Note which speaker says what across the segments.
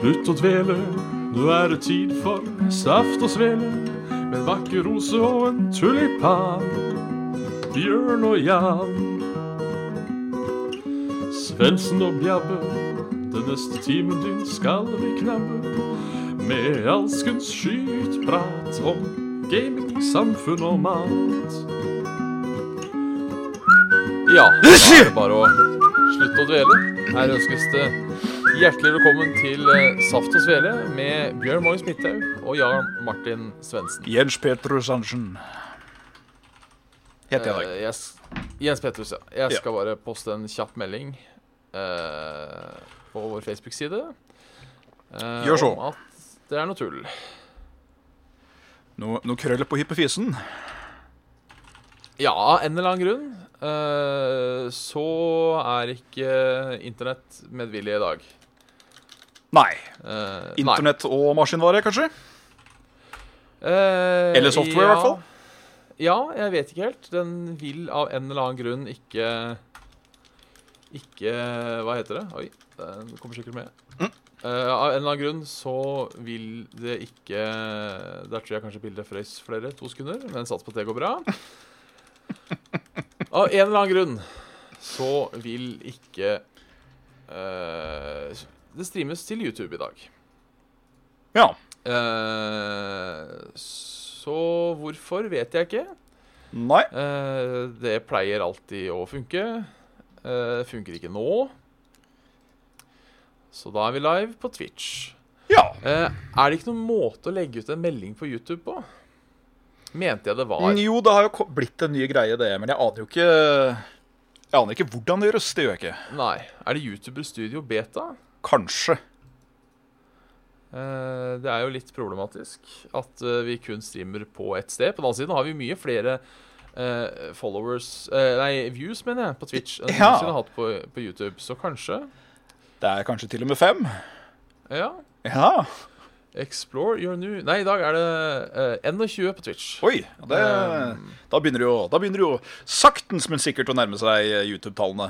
Speaker 1: Slutt å dvele, nå er det tid for saft og svele. Med en vakker rose og en tulipan. Bjørn og Jan. Svendsen og Bjabbe, den neste timen din skal vi knabbe. Med alskens skytprat om gaming, samfunn og mat.
Speaker 2: Ja, da er det bare å slutte å dvele. Her ønskes det hjertelig velkommen til eh, Saft og Svele med Bjørn Magnus Midthaug og Jan Martin Svendsen.
Speaker 3: Jens Petrus Andersen. Heter jeg i dag.
Speaker 2: Eh, jeg s- Jens Petrus, ja. Jeg skal bare poste en kjapp melding eh, på vår Facebook-side. eh,
Speaker 3: Gjør så.
Speaker 2: Om at det er noe tull.
Speaker 3: Noe, noe krøll på hyppefisen.
Speaker 2: Ja, av en eller annen grunn eh, så er ikke internett medvillig i dag.
Speaker 3: Nei.
Speaker 2: Eh, nei.
Speaker 3: Internett og maskinvare, kanskje?
Speaker 2: Eh,
Speaker 3: Eller software, i hvert fall.
Speaker 2: Ja, jeg vet ikke helt. Den vil av en eller annen grunn ikke Ikke Hva heter det? Oi, den kommer sikkert med.
Speaker 3: Mm.
Speaker 2: Eh, av en eller annen grunn så vil det ikke Der tror jeg kanskje bildet frøys flere to sekunder, men sats på at det går bra. Av en eller annen grunn så vil ikke eh, Det streames til YouTube i dag.
Speaker 3: Ja.
Speaker 2: Eh, så hvorfor vet jeg ikke.
Speaker 3: Nei.
Speaker 2: Eh, det pleier alltid å funke. Eh, funker ikke nå. Så da er vi live på Twitch.
Speaker 3: Ja.
Speaker 2: Eh, er det ikke noen måte å legge ut en melding på YouTube på? Mente jeg det var.
Speaker 3: Jo, det har jo ko- blitt en ny greie, det. Men jeg aner jo ikke Jeg aner ikke hvordan det gjøres. Det gjør jeg ikke.
Speaker 2: Nei. Er det YouTuber Studio Beta?
Speaker 3: Kanskje.
Speaker 2: Eh, Det er jo litt problematisk at eh, vi kun streamer på ett sted. På den annen side har vi mye flere eh, followers eh, Nei, views, mener jeg, på Twitch enn vi
Speaker 3: Ja.
Speaker 2: noensinne har hatt på, på YouTube. Så kanskje
Speaker 3: Det er kanskje til og med fem.
Speaker 2: Ja.
Speaker 3: Ja.
Speaker 2: Explore your new Nei, i dag er det eh, 21 på Twitch.
Speaker 3: Oi. ja, Det,
Speaker 2: Um,
Speaker 3: da begynner det jo Da begynner det jo saktens, men sikkert å nærme seg eh, YouTube-tallene.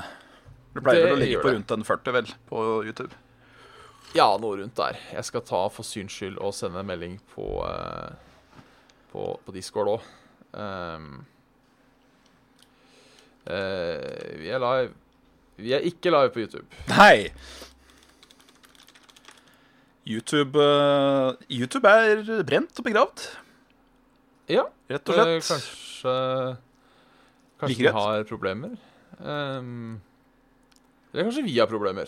Speaker 3: Det pleier
Speaker 2: Det
Speaker 3: vel å ligge
Speaker 2: gjør
Speaker 3: på
Speaker 2: det.
Speaker 3: rundt en 40, vel, på YouTube.
Speaker 2: Ja, noe rundt der. Jeg skal ta for syns skyld og sende en melding på, eh, på, på Discord Ehm, òg. eh, vi er live. Vi er ikke live på YouTube.
Speaker 3: Nei. YouTube, eh, YouTube er brent og begravd,
Speaker 2: Ja,
Speaker 3: rett og
Speaker 2: Eh,
Speaker 3: slett.
Speaker 2: Kanskje Kanskje
Speaker 3: Like
Speaker 2: vi
Speaker 3: greit.
Speaker 2: har problemer. Ehm, eller kanskje vi har problemer.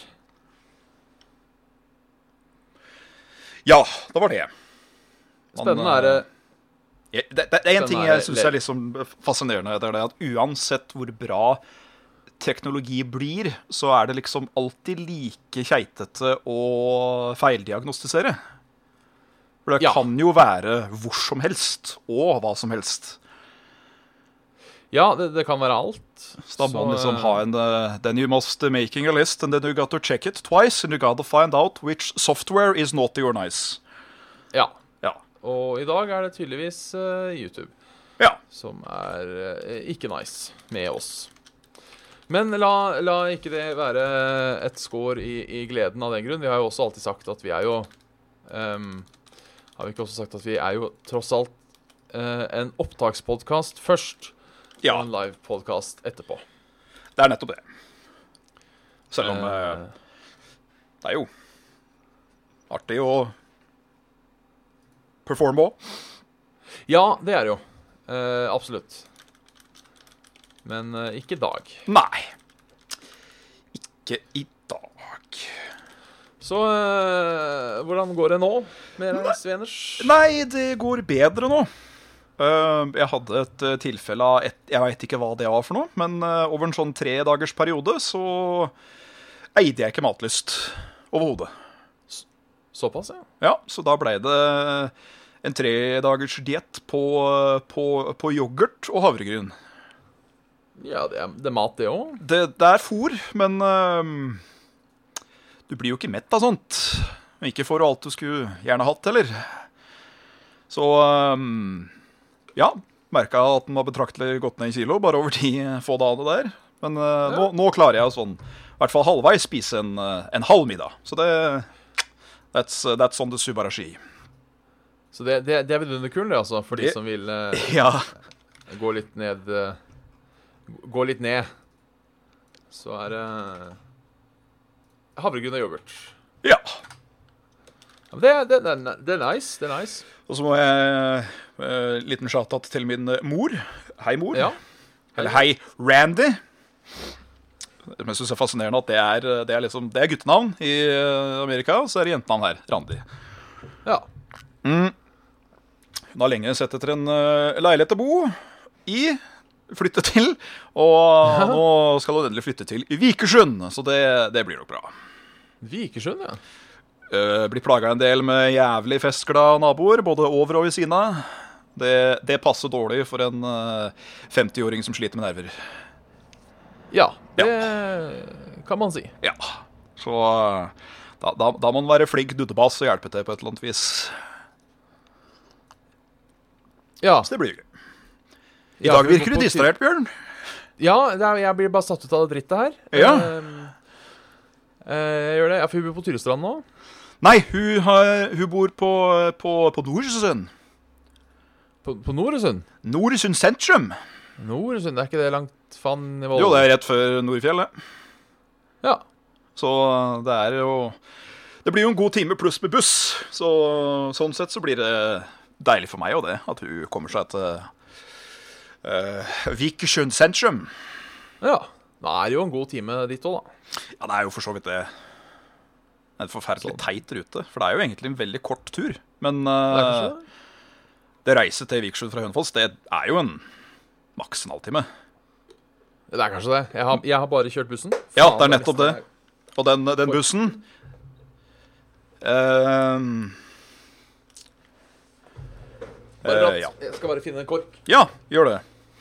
Speaker 3: Ja, det var det. Man,
Speaker 2: Spennende
Speaker 3: eh,
Speaker 2: er det
Speaker 3: Jeg- Det, det, det er
Speaker 2: Den
Speaker 3: en ting
Speaker 2: er
Speaker 3: jeg syns
Speaker 2: le-
Speaker 3: er liksom fascinerende. Det er det at uansett hvor bra teknologi blir, så er det liksom alltid like keitete å feildiagnostisere. For det
Speaker 2: Ja.
Speaker 3: kan jo være hvor som helst og hva som helst.
Speaker 2: Ja, det, det kan være alt.
Speaker 3: Så da må man
Speaker 2: Så,
Speaker 3: liksom
Speaker 2: eh,
Speaker 3: ha en eh, Then you must making a list, and then you got to check it twice, and you got to find out which software is naughty or nice.
Speaker 2: eh, Ja.
Speaker 3: Ja.
Speaker 2: Og i dag er det tydeligvis eh, YouTube
Speaker 3: ja.
Speaker 2: som er eh, ikke nice med oss. Men la, la ikke det være et skår i, i gleden av den grunn. Vi har jo også alltid sagt at vi er jo ehm, Har vi ikke også sagt at vi er jo tross alt eh, en opptakspodkast først?
Speaker 3: ja.
Speaker 2: og en live podcast etterpå.
Speaker 3: Det er nettopp det. Selv om eh,
Speaker 2: Eh,
Speaker 3: det er jo artig å performe òg.
Speaker 2: ja, det er det jo. Eh, absolutt. Men eh, ikke i dag.
Speaker 3: Nei. Ikke i dag.
Speaker 2: Så eh, hvordan går det nå med deg, Sveners?
Speaker 3: Nei, det går bedre nå. Eh, jeg hadde et eh, tilfelle av et, Jeg veit ikke hva det var for noe, men eh, over en sånn tre dagers periode så eide jeg ikke matlyst overhodet.
Speaker 2: Såpass, ja.
Speaker 3: Ja, så da blei det en tredagers diett på, på, på yoghurt og havregryn.
Speaker 2: Ja, det er, det er mat, det òg.
Speaker 3: Det, det er fôr, men eh, du blir jo ikke mett av sånt. Men Ikke for alt du skulle gjerne hatt heller. Så eh, ja, merka at den var betraktelig gått ned i kilo bare over de få dagene der. Men eh, nå, nå klarer jeg å sånn, i hvert fall halvveis spise en, eh, en halv middag. Så det That's, uh, that's on the Subarashi.
Speaker 2: Så det, det, det er vidunderkulen, det, altså, for de
Speaker 3: Det-
Speaker 2: som vil eh,
Speaker 3: Ja.
Speaker 2: gå litt ned eh, Gå litt ned. Så er det havregryn og yoghurt.
Speaker 3: ja.
Speaker 2: Ja, men det, det, det, er ni- det er nice. Det er nice.
Speaker 3: Og så må jeg uh, liten shout-out til min eh, mor. Hei, mor.
Speaker 2: Ja.
Speaker 3: Eller hei, Randy. Men jeg synes det er fascinerende at det er, eh, det er, liksom, det er guttenavn i eh, Amerika, og så er det jentenavn her. Randi.
Speaker 2: ja.
Speaker 3: Hun har lenge sett etter en eh, leilighet å bo i, flytte til, og nå skal hun endelig flytte til Vikersund, så det, det blir nok bra.
Speaker 2: Vikersund, ja.
Speaker 3: Eh, blir plaga en del med jævlig festglade naboer, både over og ved siden av. Det, det passer dårlig for en eh, 50-åring som sliter med nerver.
Speaker 2: Ja, det kan man si.
Speaker 3: Ja, så eh, da, da, da må man være flink duddebass og hjelpe til på et eller annet vis.
Speaker 2: Ja,
Speaker 3: Så Altså, det blir hyggelig. I
Speaker 2: Ja,
Speaker 3: dag
Speaker 2: vi må
Speaker 3: virker du
Speaker 2: på tid-
Speaker 3: distrahert, Bjørn.
Speaker 2: ja det er, jeg blir bare satt ut av det drittet her.
Speaker 3: Ja.
Speaker 2: Ehm, eh, jeg gjør det. Jeg får jobbe på Tyrestrand nå.
Speaker 3: Nei, hun, har, hun bor på, på, på Nordsund.
Speaker 2: På, på Noresund.
Speaker 3: Nordsund sentrum.
Speaker 2: Noresund, det er ikke det langt faen i
Speaker 3: Jo, det er rett før Nordfjellet.
Speaker 2: Ja.
Speaker 3: Så det er jo Det blir jo en god time pluss med buss. Så sånn sett så blir det deilig for meg og det, at hun kommer seg til uh, Vikersund sentrum.
Speaker 2: ja. Da er det jo en god time dit òg, da.
Speaker 3: Ja, det er jo for så vidt det. Det er En forferdelig teit rute, for det er jo egentlig en veldig kort tur. Men
Speaker 2: Sånn. Det er
Speaker 3: eh,
Speaker 2: kanskje det?
Speaker 3: det reise til Vikersund fra Hønefoss, det er jo en maks en halvtime.
Speaker 2: Det er kanskje det. Jeg har, jeg har bare kjørt bussen.
Speaker 3: Ja,
Speaker 2: Faen,
Speaker 3: det er
Speaker 2: da
Speaker 3: nettopp
Speaker 2: mister
Speaker 3: det.
Speaker 2: jeg-
Speaker 3: Og den, eh, den bussen Ehm,
Speaker 2: Bare
Speaker 3: Eh,
Speaker 2: prat.
Speaker 3: ja.
Speaker 2: Jeg skal bare finne en kork.
Speaker 3: Ja, gjør det.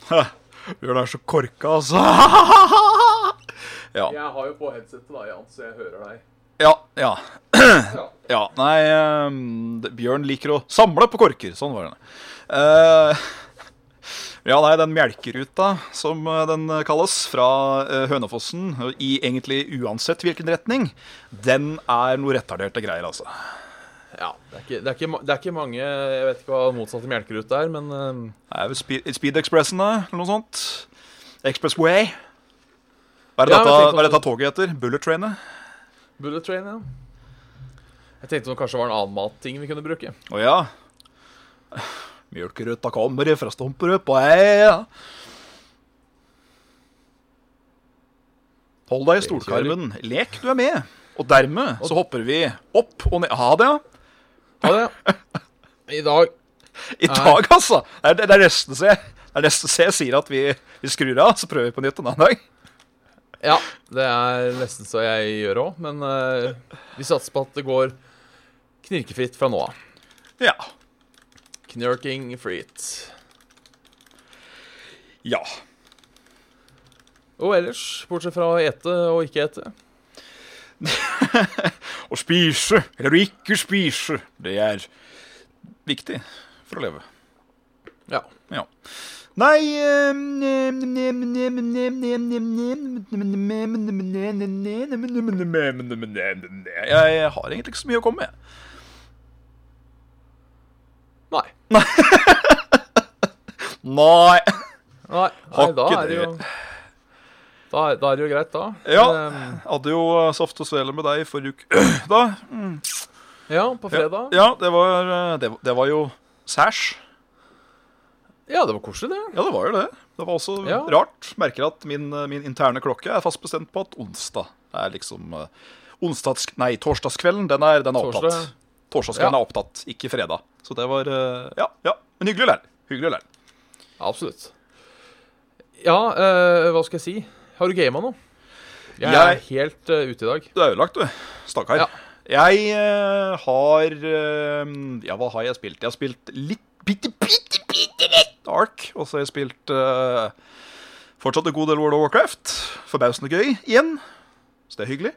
Speaker 3: Bjørn er så korka, altså. ja.
Speaker 2: Jeg har jo på headsetet, da, Jan, så jeg hører deg.
Speaker 3: Ja. ja.
Speaker 2: Ja.
Speaker 3: Ja, nei ehm, det- Bjørn liker å samle på korker. Sånn var det. Eh, ja, nei, den melkeruta, som eh, den kalles, fra eh, Hønefossen, i egentlig uansett hvilken retning, den er noe retarderte greier, altså.
Speaker 2: Ja, det er, ikke, det, er ikke, ma- det er ikke mange Jeg vet ikke hva motsatte melkerute er, men ehm,
Speaker 3: Det er vel Speed, speed Expressen, da, eller noe sånt. Expressway. Hva er
Speaker 2: Ja, jeg
Speaker 3: det dette,
Speaker 2: tenkte
Speaker 3: hva er
Speaker 2: også-
Speaker 3: dette toget heter? Bullet Trainet?
Speaker 2: Bullet Train, ja. Jeg tenkte om det kanskje var en annen matting vi kunne bruke.
Speaker 3: Å ja. Mjølkeruta kommer fra Stomperud på eia. Hold deg i stolkarmen. Lek du er med. Og dermed så hopper vi opp og ned. Ha det, ja.
Speaker 2: Ha det. I dag
Speaker 3: I dag, altså. Det er, det er nesten så jeg, det er nesten så jeg sier at vi, vi skrur av, så prøver vi på nytt en annen dag.
Speaker 2: Ja, det er nesten så jeg gjør òg, men eh, vi satser på at det går knirkefritt fra nå av.
Speaker 3: Ja.
Speaker 2: Knirking freet.
Speaker 3: Ja.
Speaker 2: Og ellers, bortsett fra å ete og ikke ete.
Speaker 3: Å spise eller å ikke spise, det er viktig for å leve.
Speaker 2: Ja.
Speaker 3: Ja. Nei Jeg har egentlig ikke så mye å komme med.
Speaker 2: Nei.
Speaker 3: Nei.
Speaker 2: Nei, nei
Speaker 3: Har
Speaker 2: da
Speaker 3: ikke
Speaker 2: er det jo
Speaker 3: det.
Speaker 2: da er, da er det jo greit, da.
Speaker 3: Ja.
Speaker 2: Ehm,
Speaker 3: Hadde jo eh, saft og svele med deg forrige uke, da. Mm.
Speaker 2: ja på fredag.
Speaker 3: Ja, det var, eh, det, det var jo sæsj.
Speaker 2: Ja, det var koselig, det.
Speaker 3: Ja, det var jo det. Det var også
Speaker 2: Ja.
Speaker 3: rart. Merker at min, eh, min interne klokke er fast bestemt på at onsdag er liksom eh, onsdags, Nei, torsdagskvelden, den er, den er
Speaker 2: Torsdag.
Speaker 3: opptatt. Torsdagskvelden
Speaker 2: Ja.
Speaker 3: er opptatt, ikke fredag. Så det var eh, Ja, ja. Men hyggelig å lære. Hyggelig å lære.
Speaker 2: Absolutt. Ja, eh, hva skal jeg si? Har du gama nå? Jeg, er
Speaker 3: Jeg-
Speaker 2: helt eh, ute i dag.
Speaker 3: Du er ødelagt, du. Stakkar.
Speaker 2: Ja.
Speaker 3: Jeg eh, har eh, Ja, hva har jeg spilt? Jeg har spilt litt bitte, bitte, bitte litt Ark. Og så har jeg spilt eh, fortsatt en god del World of Warcraft. Forbausende gøy igjen. Så det er hyggelig.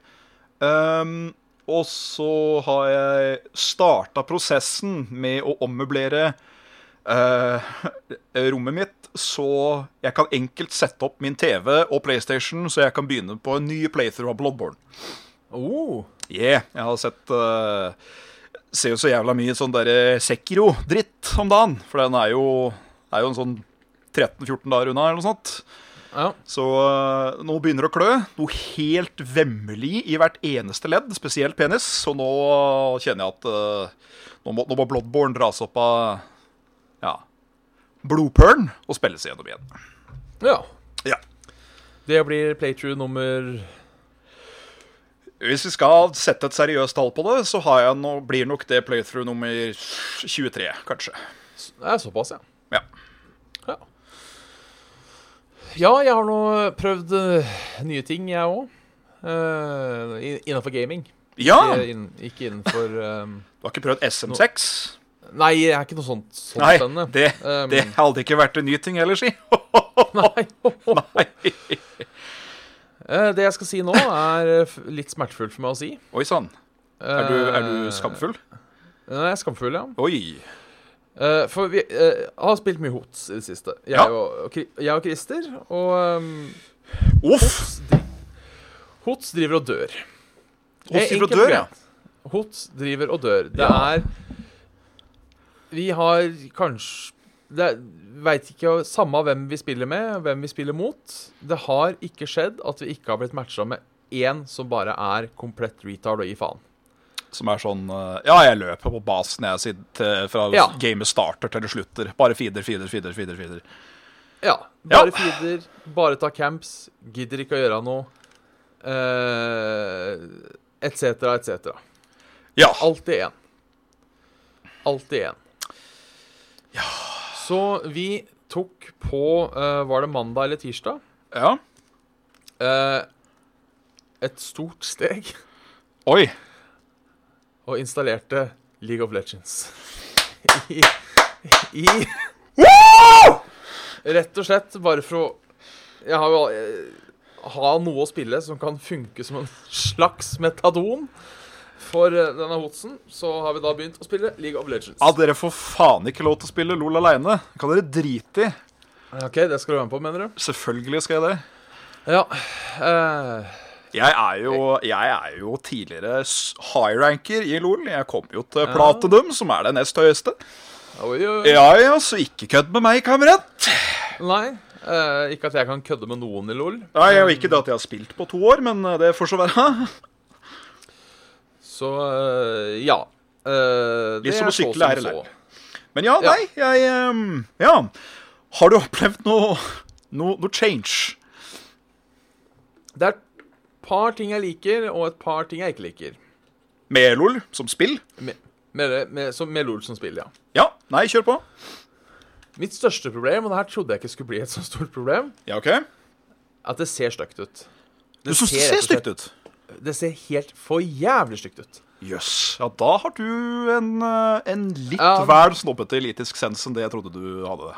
Speaker 3: Ehm, og så har jeg starta prosessen med å ommøblere eh, rommet mitt, så jeg kan enkelt sette opp min TV og PlayStation, så jeg kan begynne på en ny playthrough av Bloodborne.
Speaker 2: Oh,
Speaker 3: Yeah, jeg har sett eh, Ser jo så jævla mye sånn derre Sekiro-dritt om dagen. For den er jo, er jo en sånn 13-14 dager unna, eller noe sånt.
Speaker 2: ja.
Speaker 3: Så eh, nå begynner det å klø. Noe helt vemmelig i hvert eneste ledd, spesielt penis. Så nå kjenner jeg at eh, nå, må, nå må Bloodborne dras opp av ja, blodpølen og spilles igjennom igjen.
Speaker 2: ja.
Speaker 3: Ja.
Speaker 2: Det blir playthrough nummer
Speaker 3: Hvis vi skal sette et seriøst tall på det, så har jeg no, blir nok det playthrough nummer 23, kanskje.
Speaker 2: Det er såpass, ja.
Speaker 3: Ja.
Speaker 2: Ja, ja jeg har nå prøvd eh, nye ting, jeg òg. innenfor gaming.
Speaker 3: Ja!
Speaker 2: Ikke, inn, ikke innenfor eh,
Speaker 3: Du har ikke prøvd SM6?
Speaker 2: Nei, jeg er ikke noe sånt, sånt
Speaker 3: Nei,
Speaker 2: spennende.
Speaker 3: det,
Speaker 2: Um,
Speaker 3: det hadde ikke vært en ny ting heller, si.
Speaker 2: Nei.
Speaker 3: Nei.
Speaker 2: Eh, det jeg skal si nå, er eh, f- litt smertefullt for meg å si.
Speaker 3: Oi sann. Er, du- er du
Speaker 2: Eh,
Speaker 3: skamfull?
Speaker 2: Nei, jeg er skamfull, ja.
Speaker 3: Oi.
Speaker 2: Eh, for vi eh, har spilt mye HOTS i det siste. Jeg,
Speaker 3: Ja.
Speaker 2: og, og, Kri- jeg og Christer. Og ehm,
Speaker 3: Uff!
Speaker 2: HOTS driver og dør.
Speaker 3: Hos
Speaker 2: Eh,
Speaker 3: ifra
Speaker 2: enkelt og
Speaker 3: dør, ja.
Speaker 2: greit. HOTS driver og dør. Det
Speaker 3: Ja.
Speaker 2: er Vi har kanskje det er- Veit ikke samme hvem vi spiller med, hvem vi spiller mot. Det har ikke skjedd at vi ikke har blitt matcha med én som bare er komplett retard og gi faen.
Speaker 3: Som er sånn eh, Ja, jeg løper på basen jeg sier, til, fra
Speaker 2: Ja.
Speaker 3: gamet starter til det slutter. Bare feeder, feeder, feeder, feeder. feeder.
Speaker 2: Ja.
Speaker 3: Ja.
Speaker 2: Bare feeder, bare ta camps, gidder ikke å gjøre noe. eh, Etc., uh, etc.
Speaker 3: Ja.
Speaker 2: Alltid én. Alltid én. Så vi tok på eh, Var det mandag eller tirsdag?
Speaker 3: ja.
Speaker 2: Eh, et stort steg
Speaker 3: Oi.
Speaker 2: og installerte League of Legends. I, i Rett og slett bare for å Jeg har jo eh, ha noe å spille som kan funke som en slags metadon for eh, denne hotsen. Så har vi da begynt å spille League of Legends.
Speaker 3: Ja, dere får faen ikke lov til å spille LOL aleine. Kan dere drite i?
Speaker 2: OK, det skal du være med på, mener du?
Speaker 3: Selvfølgelig skal jeg det.
Speaker 2: Ja. eh,
Speaker 3: Jeg er jo, jeg er jo tidligere s- high ranker i LOL. Jeg kom jo til platinum, som er det nest høyeste.
Speaker 2: oi, oi, oi.
Speaker 3: Ja ja, så ikke kødd med meg, kamerat.
Speaker 2: Nei. eh, ikke at jeg kan kødde med noen i LOL.
Speaker 3: Nei, jeg er jo ikke det at jeg har spilt på to år, men eh, det får så være.
Speaker 2: Så eh, ja. Eh, det
Speaker 3: Litt som
Speaker 2: er
Speaker 3: å
Speaker 2: så
Speaker 3: sykle er
Speaker 2: som
Speaker 3: det
Speaker 2: så.
Speaker 3: lært. Men ja, nei, jeg ehm, Ja. Har du opplevd noe, noe, noe change?
Speaker 2: Det er et par ting jeg liker, og et par ting jeg ikke liker.
Speaker 3: Med LOL som spill?
Speaker 2: Med, med, med, som, med LOL som spill, ja.
Speaker 3: Ja. Nei, kjør på.
Speaker 2: Mitt største problem, og det her trodde jeg ikke skulle bli et så stort problem,
Speaker 3: Ja, OK.
Speaker 2: er at det ser stygt ut.
Speaker 3: Du syns det
Speaker 2: ser rett
Speaker 3: ser
Speaker 2: og slett-
Speaker 3: stygt ut.
Speaker 2: Det ser helt for jævlig stygt ut.
Speaker 3: Jøss. Ja, da har du en, eh, en litt
Speaker 2: Ja.
Speaker 3: vel snobbete elitisk sens enn det jeg trodde du hadde.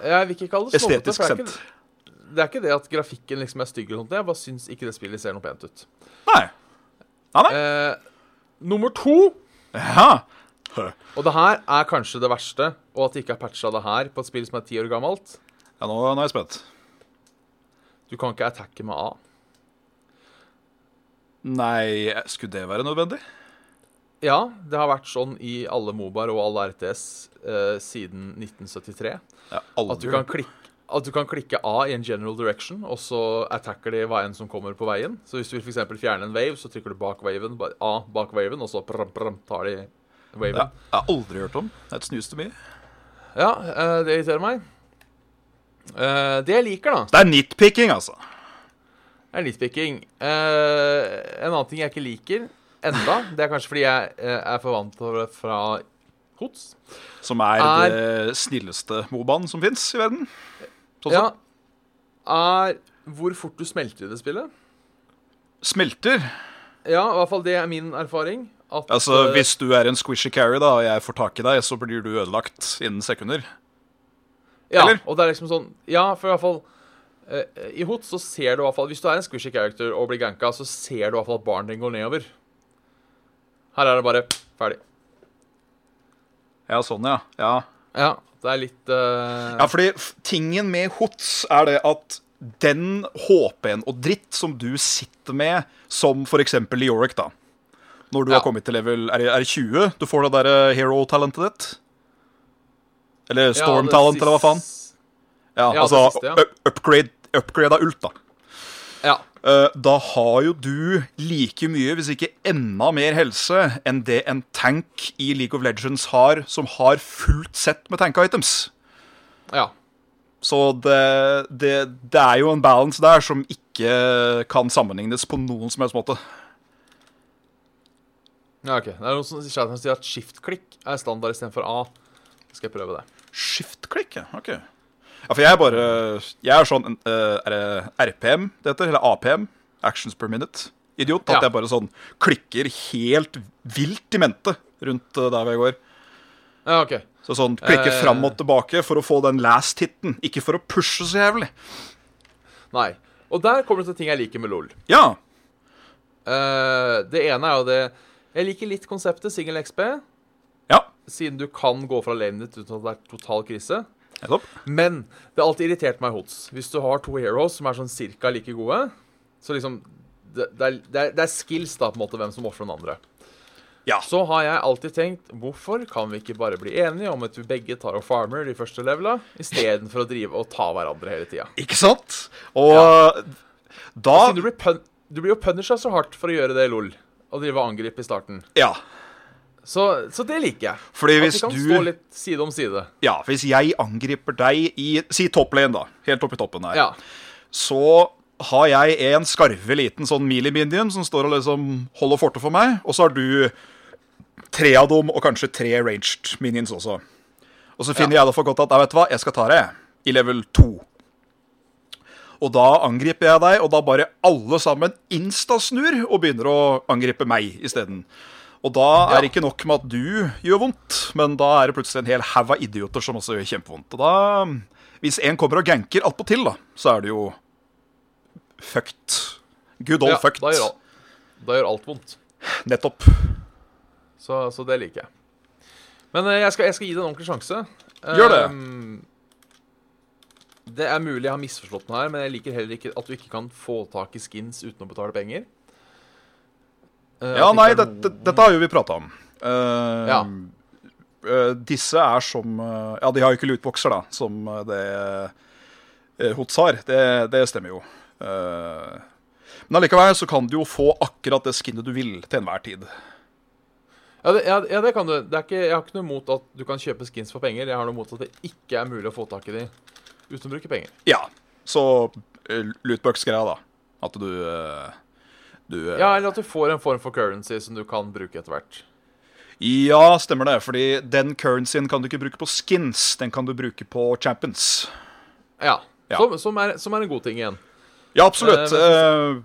Speaker 2: Jeg vil ikke kalle det snobbete.
Speaker 3: Estetisk
Speaker 2: for Det, er
Speaker 3: sett.
Speaker 2: ikke- det er ikke det at grafikken liksom er stygg, eller noe, jeg bare syns ikke det spillet ser noe pent ut.
Speaker 3: Nei. Nei, nei.
Speaker 2: Eh, nummer to
Speaker 3: Jaha. Hø.
Speaker 2: Og det her er kanskje det verste, og at de ikke har patcha det her på et spill som er ti år gammelt.
Speaker 3: Ja, nå, nå er jeg spent.
Speaker 2: Du kan ikke attacke med A.
Speaker 3: Nei, skulle det være nødvendig?
Speaker 2: Ja, det har vært sånn i alle Mobar og alle RTS eh, siden 1973.
Speaker 3: Jeg har aldri
Speaker 2: At du, kan klikke, at du kan klikke A i en general direction, og så attacker de hva enn som kommer på veien. Så hvis du vil for eksempel fjerne en wave, så trykker du bak waven, bare A bak waven, og så pram, pram, tar de
Speaker 3: ja,
Speaker 2: waven.
Speaker 3: Jeg har aldri hørt om. Det snuste mye.
Speaker 2: Ja, eh, det irriterer meg. Eh, det jeg liker, da,
Speaker 3: Det er nitpicking, altså.
Speaker 2: Det er nitpicking. Eh, en annen ting jeg ikke liker enda, det er kanskje fordi jeg eh, er forvant til det fra HOTS.
Speaker 3: Som er,
Speaker 2: Er-
Speaker 3: det snilleste mobaen som fins i verden. Sånn
Speaker 2: Ja,
Speaker 3: som
Speaker 2: er hvor fort du smelter i det spillet.
Speaker 3: smelter.
Speaker 2: Ja, i hvert fall det er min erfaring. At,
Speaker 3: Altså,
Speaker 2: eh,
Speaker 3: Hvis du er en squishy carry da, og jeg får tak i deg, så blir du ødelagt innen sekunder.
Speaker 2: ja,
Speaker 3: eller?
Speaker 2: Og det er liksom sånn Ja, for i hvert fall eh, I HOTS så ser du i hvert fall Hvis du er en squishy character og blir ganka, så ser du i hvert fall at baren din går nedover. Her er det bare ferdig.
Speaker 3: Ja, sånn, ja. Ja,
Speaker 2: Ja, det er litt eh,
Speaker 3: ja fordi f- tingen med HOTS er det at den HP-en og dritt som du sitter med, som f.eks. Leoric, da. Når du
Speaker 2: Ja.
Speaker 3: har kommet til level er det, er det 20, du får det derre hero-talentet ditt. Eller storm-talent, eller hva faen. Ja,
Speaker 2: Ja, det
Speaker 3: altså
Speaker 2: siste, ja.
Speaker 3: u- upgrade, upgrade av ult, da.
Speaker 2: Ja.
Speaker 3: Eh, da har jo du like mye, hvis ikke enda mer helse, enn det en tank i League of Legends har, som har fullt sett med tank-items.
Speaker 2: ja.
Speaker 3: Så det, det, det er jo en balance der som ikke kan sammenlignes på noen som helst måte.
Speaker 2: Ja, ok. Det er noen som i chatten sier at skift-klikk er standard istedenfor A. Da skal jeg prøve det.
Speaker 3: Shift-klikk, ja. OK. Ja, for jeg er bare Jeg er sånn eh, Er det RPM det heter? Eller APM? Actions per minute. Idiot. At
Speaker 2: Ja.
Speaker 3: jeg bare sånn klikker helt vilt i mente rundt eh, der hvor jeg går.
Speaker 2: Ja, ok.
Speaker 3: Så sånn, Klikke
Speaker 2: Eh.
Speaker 3: fram og tilbake for å få den last hiten, ikke for å pushe så jævlig.
Speaker 2: Nei. Og der kommer det til ting jeg liker med LOL.
Speaker 3: Ja,
Speaker 2: Eh, det ene er jo det Jeg liker litt konseptet single XP,
Speaker 3: ja,
Speaker 2: siden du kan gå fra lanen ditt uten at det er total krise.
Speaker 3: nettopp.
Speaker 2: Men det har alltid irritert meg hots. Hvis du har to heroes som er sånn cirka like gode, så liksom Det, det, er, det, er, det er skills, da, på en måte, hvem som ofrer den andre.
Speaker 3: Ja.
Speaker 2: Så har jeg alltid tenkt hvorfor kan vi ikke bare bli enige om at vi begge tar og farmer de første levela, istedenfor å drive og ta hverandre hele tida?
Speaker 3: Ikke sant? Og da
Speaker 2: Siden Du, blir pun- du blir jo punisha så hardt for å gjøre det i LOL, og drive og angripe i starten.
Speaker 3: Ja.
Speaker 2: Så, så det liker jeg.
Speaker 3: Fordi
Speaker 2: At
Speaker 3: hvis
Speaker 2: vi kan
Speaker 3: du
Speaker 2: stå litt side om side.
Speaker 3: Ja, hvis jeg angriper deg i Si topplane, da. Helt opp i toppen her.
Speaker 2: Ja.
Speaker 3: Så har jeg en skarve liten sånn mili-minion som står og liksom holder fortet for meg. Og så har du tre av dem, og kanskje tre ranged minions også. Og så finner jeg det for godt at jeg vet du hva, jeg skal ta deg i level 2. Og da angriper jeg deg, og da bare alle sammen instasnur og begynner å angripe meg isteden. Og da er
Speaker 2: Ja.
Speaker 3: det ikke nok med at du gjør vondt, men da er det plutselig en hel haug av idioter som også gjør kjempevondt. Og da, hvis en kommer og ganker attpåtil, da, så er det jo fucked. Good old
Speaker 2: ja
Speaker 3: fucked.
Speaker 2: da, gjør alt, da gjør alt vondt.
Speaker 3: Nettopp.
Speaker 2: Så, så det liker jeg. Men eh, jeg skal, jeg skal gi det en ordentlig sjanse.
Speaker 3: Gjør det.
Speaker 2: Ehm, det er mulig jeg har misforstått den her, men jeg liker heller ikke at du ikke kan få tak i skins uten å betale penger. Eh,
Speaker 3: Ja,
Speaker 2: at
Speaker 3: nei,
Speaker 2: ikke
Speaker 3: det,
Speaker 2: er noen-
Speaker 3: det, dette har jo vi prata om. Eh,
Speaker 2: Ja.
Speaker 3: eh, disse er som eh, Ja, de har jo ikke lootboxer, da, som eh, det eh, Hots har. Det, det stemmer jo. Eh, men allikevel så kan du jo få akkurat det skinnet du vil til enhver tid.
Speaker 2: Ja, det, ja, ja, det kan du. Det er ikke, jeg har ikke noe imot at du kan kjøpe skins for penger. Jeg har noe imot at det ikke er mulig å få tak i de uten å bruke penger.
Speaker 3: Ja, så eh, lootbox-greia, da. At du eh, Du eh,
Speaker 2: Ja, Eller at du får en form for currency som du kan bruke etter hvert.
Speaker 3: ja, stemmer det. Fordi den currencyen kan du ikke bruke på skins. Den kan du bruke på champions.
Speaker 2: Ja.
Speaker 3: Ja.
Speaker 2: Som, som, er, som er en god ting igjen.
Speaker 3: Ja, absolutt.
Speaker 2: Eh,
Speaker 3: Eh,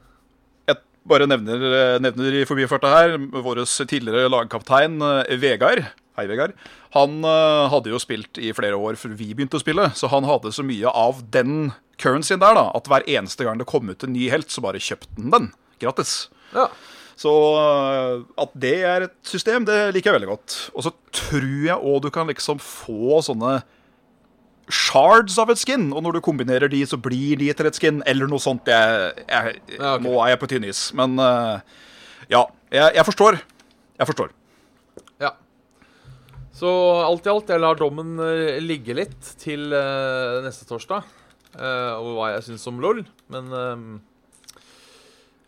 Speaker 3: jeg bare nevner, eh, nevner i forbifarta her vår tidligere lagkaptein eh, Vegard. Hei, Vegard. Han eh, hadde jo spilt i flere år før vi begynte å spille, så han hadde så mye av den currencyen der da, at hver eneste gang det kom ut en ny helt, så bare kjøpte han den. Grattis.
Speaker 2: Ja.
Speaker 3: Så eh, at det er et system, det liker jeg veldig godt. Og så tror jeg òg du kan liksom få sånne shards av et skin, og når du kombinerer de, så blir de til et skin, eller noe sånt. Jeg, jeg,
Speaker 2: Ja, ok.
Speaker 3: Nå er jeg på tynn is, men eh, ja. Jeg, jeg forstår. Jeg forstår.
Speaker 2: Ja. Så alt i alt, jeg lar dommen eh, ligge litt til eh, neste torsdag. eh, over hva jeg syns om LOL. Men eh,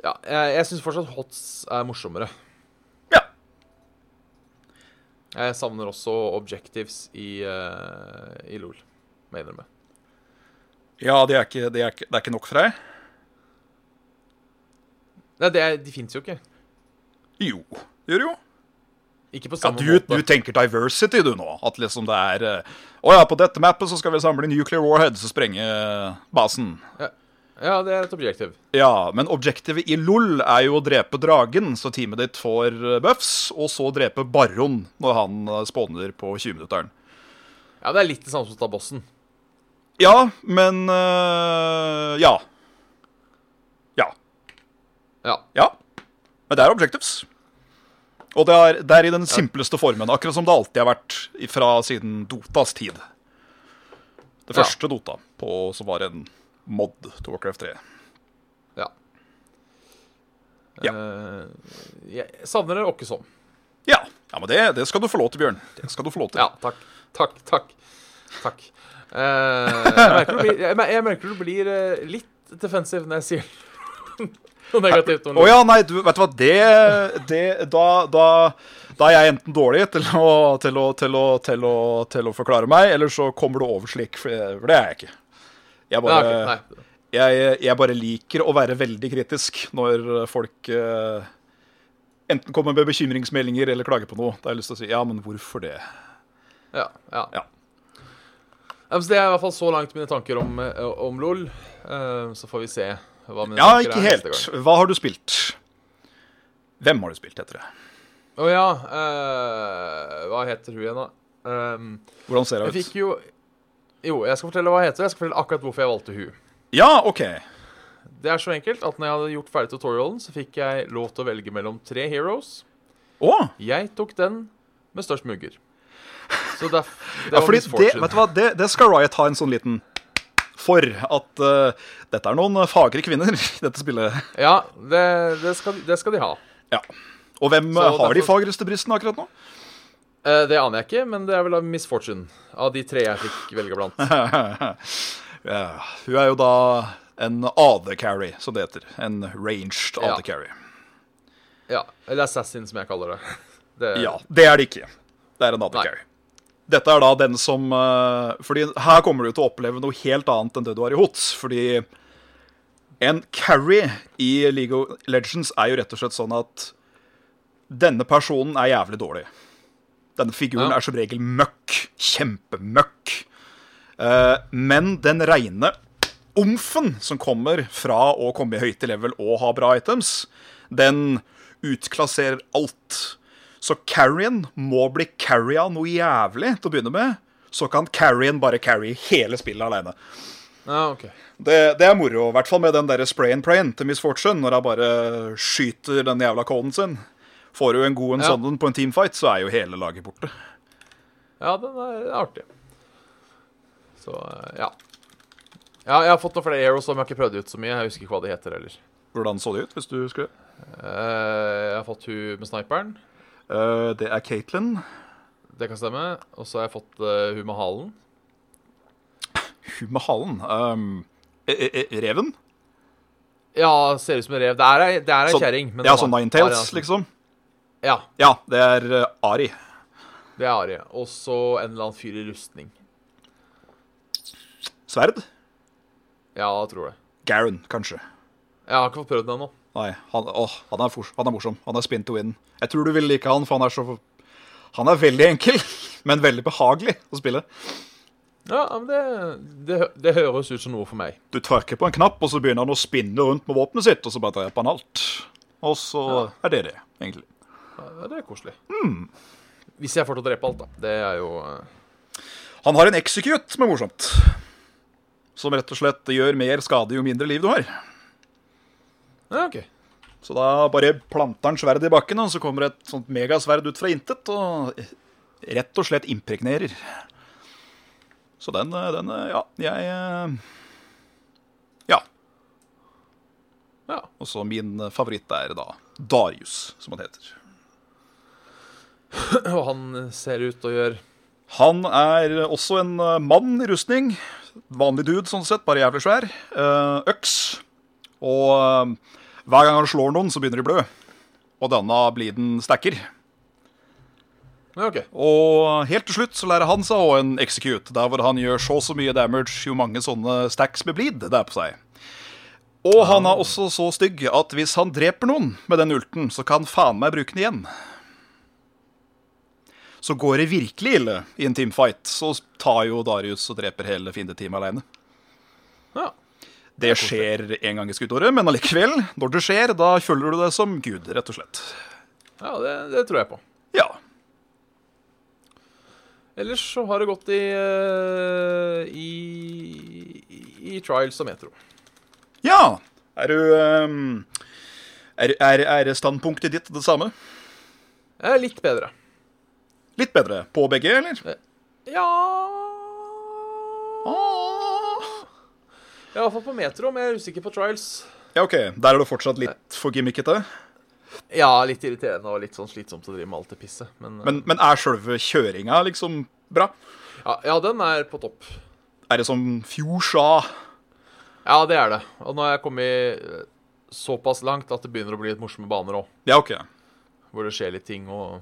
Speaker 2: ja, jeg, jeg syns fortsatt Hots er morsommere.
Speaker 3: Ja.
Speaker 2: Jeg savner også objectives i, eh, i LOL, må jeg innrømme.
Speaker 3: Ja, det er ikke, det er ikke, det er ikke nok for deg?
Speaker 2: Nei, det, er- de fins jo ikke.
Speaker 3: Jo. Det gjør det jo.
Speaker 2: Ikke på
Speaker 3: Ja,
Speaker 2: samme
Speaker 3: du,
Speaker 2: måte.
Speaker 3: du tenker diversity, du, nå. At liksom det er eh, Å ja, på dette mappet så skal vi samle nuclear warheads og sprenge eh, basen.
Speaker 2: Ja, det er et objective.
Speaker 3: Ja, men objektivet i LOL er jo å drepe dragen, så teamet ditt får eh, buffs, og så drepe baron når han eh, spawner på 20-minutteren.
Speaker 2: Ja, det er litt det samme som å ta bossen.
Speaker 3: Ja, men eh, Ja. Ja.
Speaker 2: Ja.
Speaker 3: Ja. Men det er objectives. Og det er, det er i den simpleste formen, akkurat som det alltid har vært fra siden Dotas tid. Det
Speaker 2: Ja.
Speaker 3: første Dota, på, som var en Mod til Warcraft 3.
Speaker 2: Ja.
Speaker 3: Ja.
Speaker 2: Eh, jeg savner det sånn. åkke som.
Speaker 3: Ja, ja men det, det skal du få lov til, Bjørn. Det skal du få lov til.
Speaker 2: Ja, takk. Takk, takk. Takk. Eh, jeg, merker det blir, jeg, mer- jeg merker det blir eh, litt defensiv når jeg sier noe negativt om
Speaker 3: Å ja, nei, du, vet du hva, det, det da, da, da er jeg enten dårlig til å, til, å, til, å, til, å, til å forklare meg, eller så kommer du over slik, for det, for det er jeg ikke. Jeg
Speaker 2: Nei,
Speaker 3: bare,
Speaker 2: ok, nei.
Speaker 3: jeg, jeg bare liker å være veldig kritisk når folk eh, enten kommer med bekymringsmeldinger eller klager på noe. Da har jeg lyst til å si ja, men hvorfor det?
Speaker 2: Ja, ja.
Speaker 3: Ja.
Speaker 2: Ja, men så det er i hvert fall så langt mine tanker om, eh, om LOL. Eh, så får vi se hva mine
Speaker 3: Ja,
Speaker 2: tanker
Speaker 3: ikke
Speaker 2: er
Speaker 3: helt.
Speaker 2: neste gang.
Speaker 3: Hva har du spilt? Hvem har du spilt, heter det.
Speaker 2: Å ja. eh, hva heter hun igjen, da? Ehm,
Speaker 3: Hvordan ser
Speaker 2: jeg
Speaker 3: hun ut?
Speaker 2: fikk jo Jo, jeg skal fortelle hva hun heter. Jeg skal fortelle akkurat hvorfor jeg valgte hun.
Speaker 3: Ja, OK.
Speaker 2: Det er så enkelt at når jeg hadde gjort ferdig tutorialen, så fikk jeg lov til å velge mellom tre heroes.
Speaker 3: Å!
Speaker 2: Jeg tok den med størst mugger. Så derf, det
Speaker 3: Ja,
Speaker 2: var
Speaker 3: fordi det,
Speaker 2: misfortune.
Speaker 3: vet du hva, det, det skal Riot ha en sånn liten for at eh, dette er noen fagre kvinner i dette spillet.
Speaker 2: Ja, det, det, skal, det skal de ha.
Speaker 3: Ja. Og hvem
Speaker 2: Så
Speaker 3: eh, har de
Speaker 2: derfor-
Speaker 3: fagreste brystene akkurat nå?
Speaker 2: Eh, det aner jeg ikke, men det er vel av misfortune. Av de tre jeg fikk velge blant.
Speaker 3: ja, hun er jo da en AD-carry, som det heter. En ranged
Speaker 2: Ja.
Speaker 3: AD-carry.
Speaker 2: Ja, Eller assassin, som jeg kaller det. det
Speaker 3: Ja, det er det ikke. Det er en AD-carry. Dette er da den som eh, Fordi her kommer du til å oppleve noe helt annet enn det du har i HOTS. Fordi en carry i League of Legends er jo rett og slett sånn at denne personen er jævlig dårlig. Denne figuren
Speaker 2: Ja.
Speaker 3: er som regel møkk. Kjempemøkk. Eh, men den reine omfen som kommer fra å komme i høyte level og ha bra items, den utklasserer alt. Så carrien må bli carria noe jævlig til å begynne med. Så kan carrien bare carry hele spillet aleine.
Speaker 2: ja ok.
Speaker 3: Det, det er moro, i hvert fall med den der spray and prain til Miss Fortune, når hun bare skyter den jævla coden sin. Får du en god en
Speaker 2: Ja.
Speaker 3: sånn på en teamfight, så er jo hele laget borte.
Speaker 2: Ja, den er artig. Så, eh, ja. Ja, Jeg har fått noen flere heroes som jeg har ikke prøvd ut så mye. Jeg husker ikke hva de heter heller.
Speaker 3: Hvordan så det ut, hvis du husker det?
Speaker 2: Eh, jeg har fått hun med sniperen.
Speaker 3: Eh, det er Caitlyn.
Speaker 2: Det kan stemme. Og så har jeg fått eh, hun med halen.
Speaker 3: Hun med halen. ehm, e- e- e- reven?
Speaker 2: Ja, ser ut som en rev. Det er ei, det er ei
Speaker 3: Sånn-
Speaker 2: kjerring. men
Speaker 3: Ja,
Speaker 2: den
Speaker 3: sånn
Speaker 2: har- har en
Speaker 3: Ninetales,
Speaker 2: sånn-
Speaker 3: liksom.
Speaker 2: Ja,
Speaker 3: Ja, det er eh, Ari.
Speaker 2: det er Ari. Og så en eller annen fyr i rustning.
Speaker 3: Sverd?
Speaker 2: Ja, jeg tror det.
Speaker 3: Garen, kanskje.
Speaker 2: Jeg har ikke fått prøvd den ennå.
Speaker 3: Nei, han, åh, han, er fors, han er morsom. Han er spin to win. Jeg tror du vil like han, for han er så Han er veldig enkel, men veldig behagelig å spille.
Speaker 2: Ja, men det, det, hø- det høres ut som noe for meg.
Speaker 3: Du trykker på en knapp, og så begynner han å spinne rundt med våpenet sitt, og så bare dreper han alt. Og så er det det, egentlig.
Speaker 2: Ja, det er koselig. Hmm. Hvis jeg får til å drepe alt, da. Det er jo eh,
Speaker 3: Han har en execute som er morsomt. Som rett og slett gjør mer skade jo mindre liv du har.
Speaker 2: Ja, OK.
Speaker 3: Så da bare planter han sverdet i bakken, og så kommer et sånt megasverd ut fra intet og rett og slett impregnerer. Så den, eh, den eh, Ja, jeg eh, Ja.
Speaker 2: Ja.
Speaker 3: Og så min eh, favoritt er da Darius, som han heter.
Speaker 2: Og han ser ut og gjør
Speaker 3: Han er også en eh, mann i rustning. Vanlig dude, sånn sett, bare jævlig svær. Eh, Øks. Og eh, hver gang han slår noen, så begynner de å blø. Og denne bliden stacker.
Speaker 2: Ja, OK.
Speaker 3: Og helt til slutt så lærer han seg å en execute, der hvor han gjør så og så mye damage jo mange sånne stacks med bleed det er på seg. Og han er også så stygg at hvis han dreper noen med den ulten, så kan han faen meg bruke den igjen. Så går det virkelig ille i en teamfight, så tar jo Darius og dreper hele fiendeteamet aleine.
Speaker 2: Ja.
Speaker 3: Det skjer én gang i skuddåret, men allikevel, når det skjer, da føler du deg som gud, rett og slett.
Speaker 2: ja det, det tror jeg på.
Speaker 3: Ja.
Speaker 2: Ellers så har det gått i eh, i, i, i trials og metro.
Speaker 3: Ja. Er du ehm, er, er, er standpunktet ditt det samme?
Speaker 2: Jeg er Eh, litt bedre.
Speaker 3: Litt bedre på begge, eller?
Speaker 2: Ja
Speaker 3: Ah.
Speaker 2: Jeg er i hvert fall på metro, men jeg er usikker på trials.
Speaker 3: Ja, OK. Der er du fortsatt litt for gimmickete.
Speaker 2: Ja, litt irriterende og litt sånn slitsomt å drive med alt det pisset, men, eh,
Speaker 3: Men, men er sjølve kjøringa liksom bra?
Speaker 2: ja, ja, den er på topp.
Speaker 3: Er det sånn fjorsa?
Speaker 2: Ja, det er det. Og nå har jeg kommet eh, såpass langt at det begynner å bli litt morsomme baner òg,
Speaker 3: Ja, OK.
Speaker 2: hvor det skjer litt ting og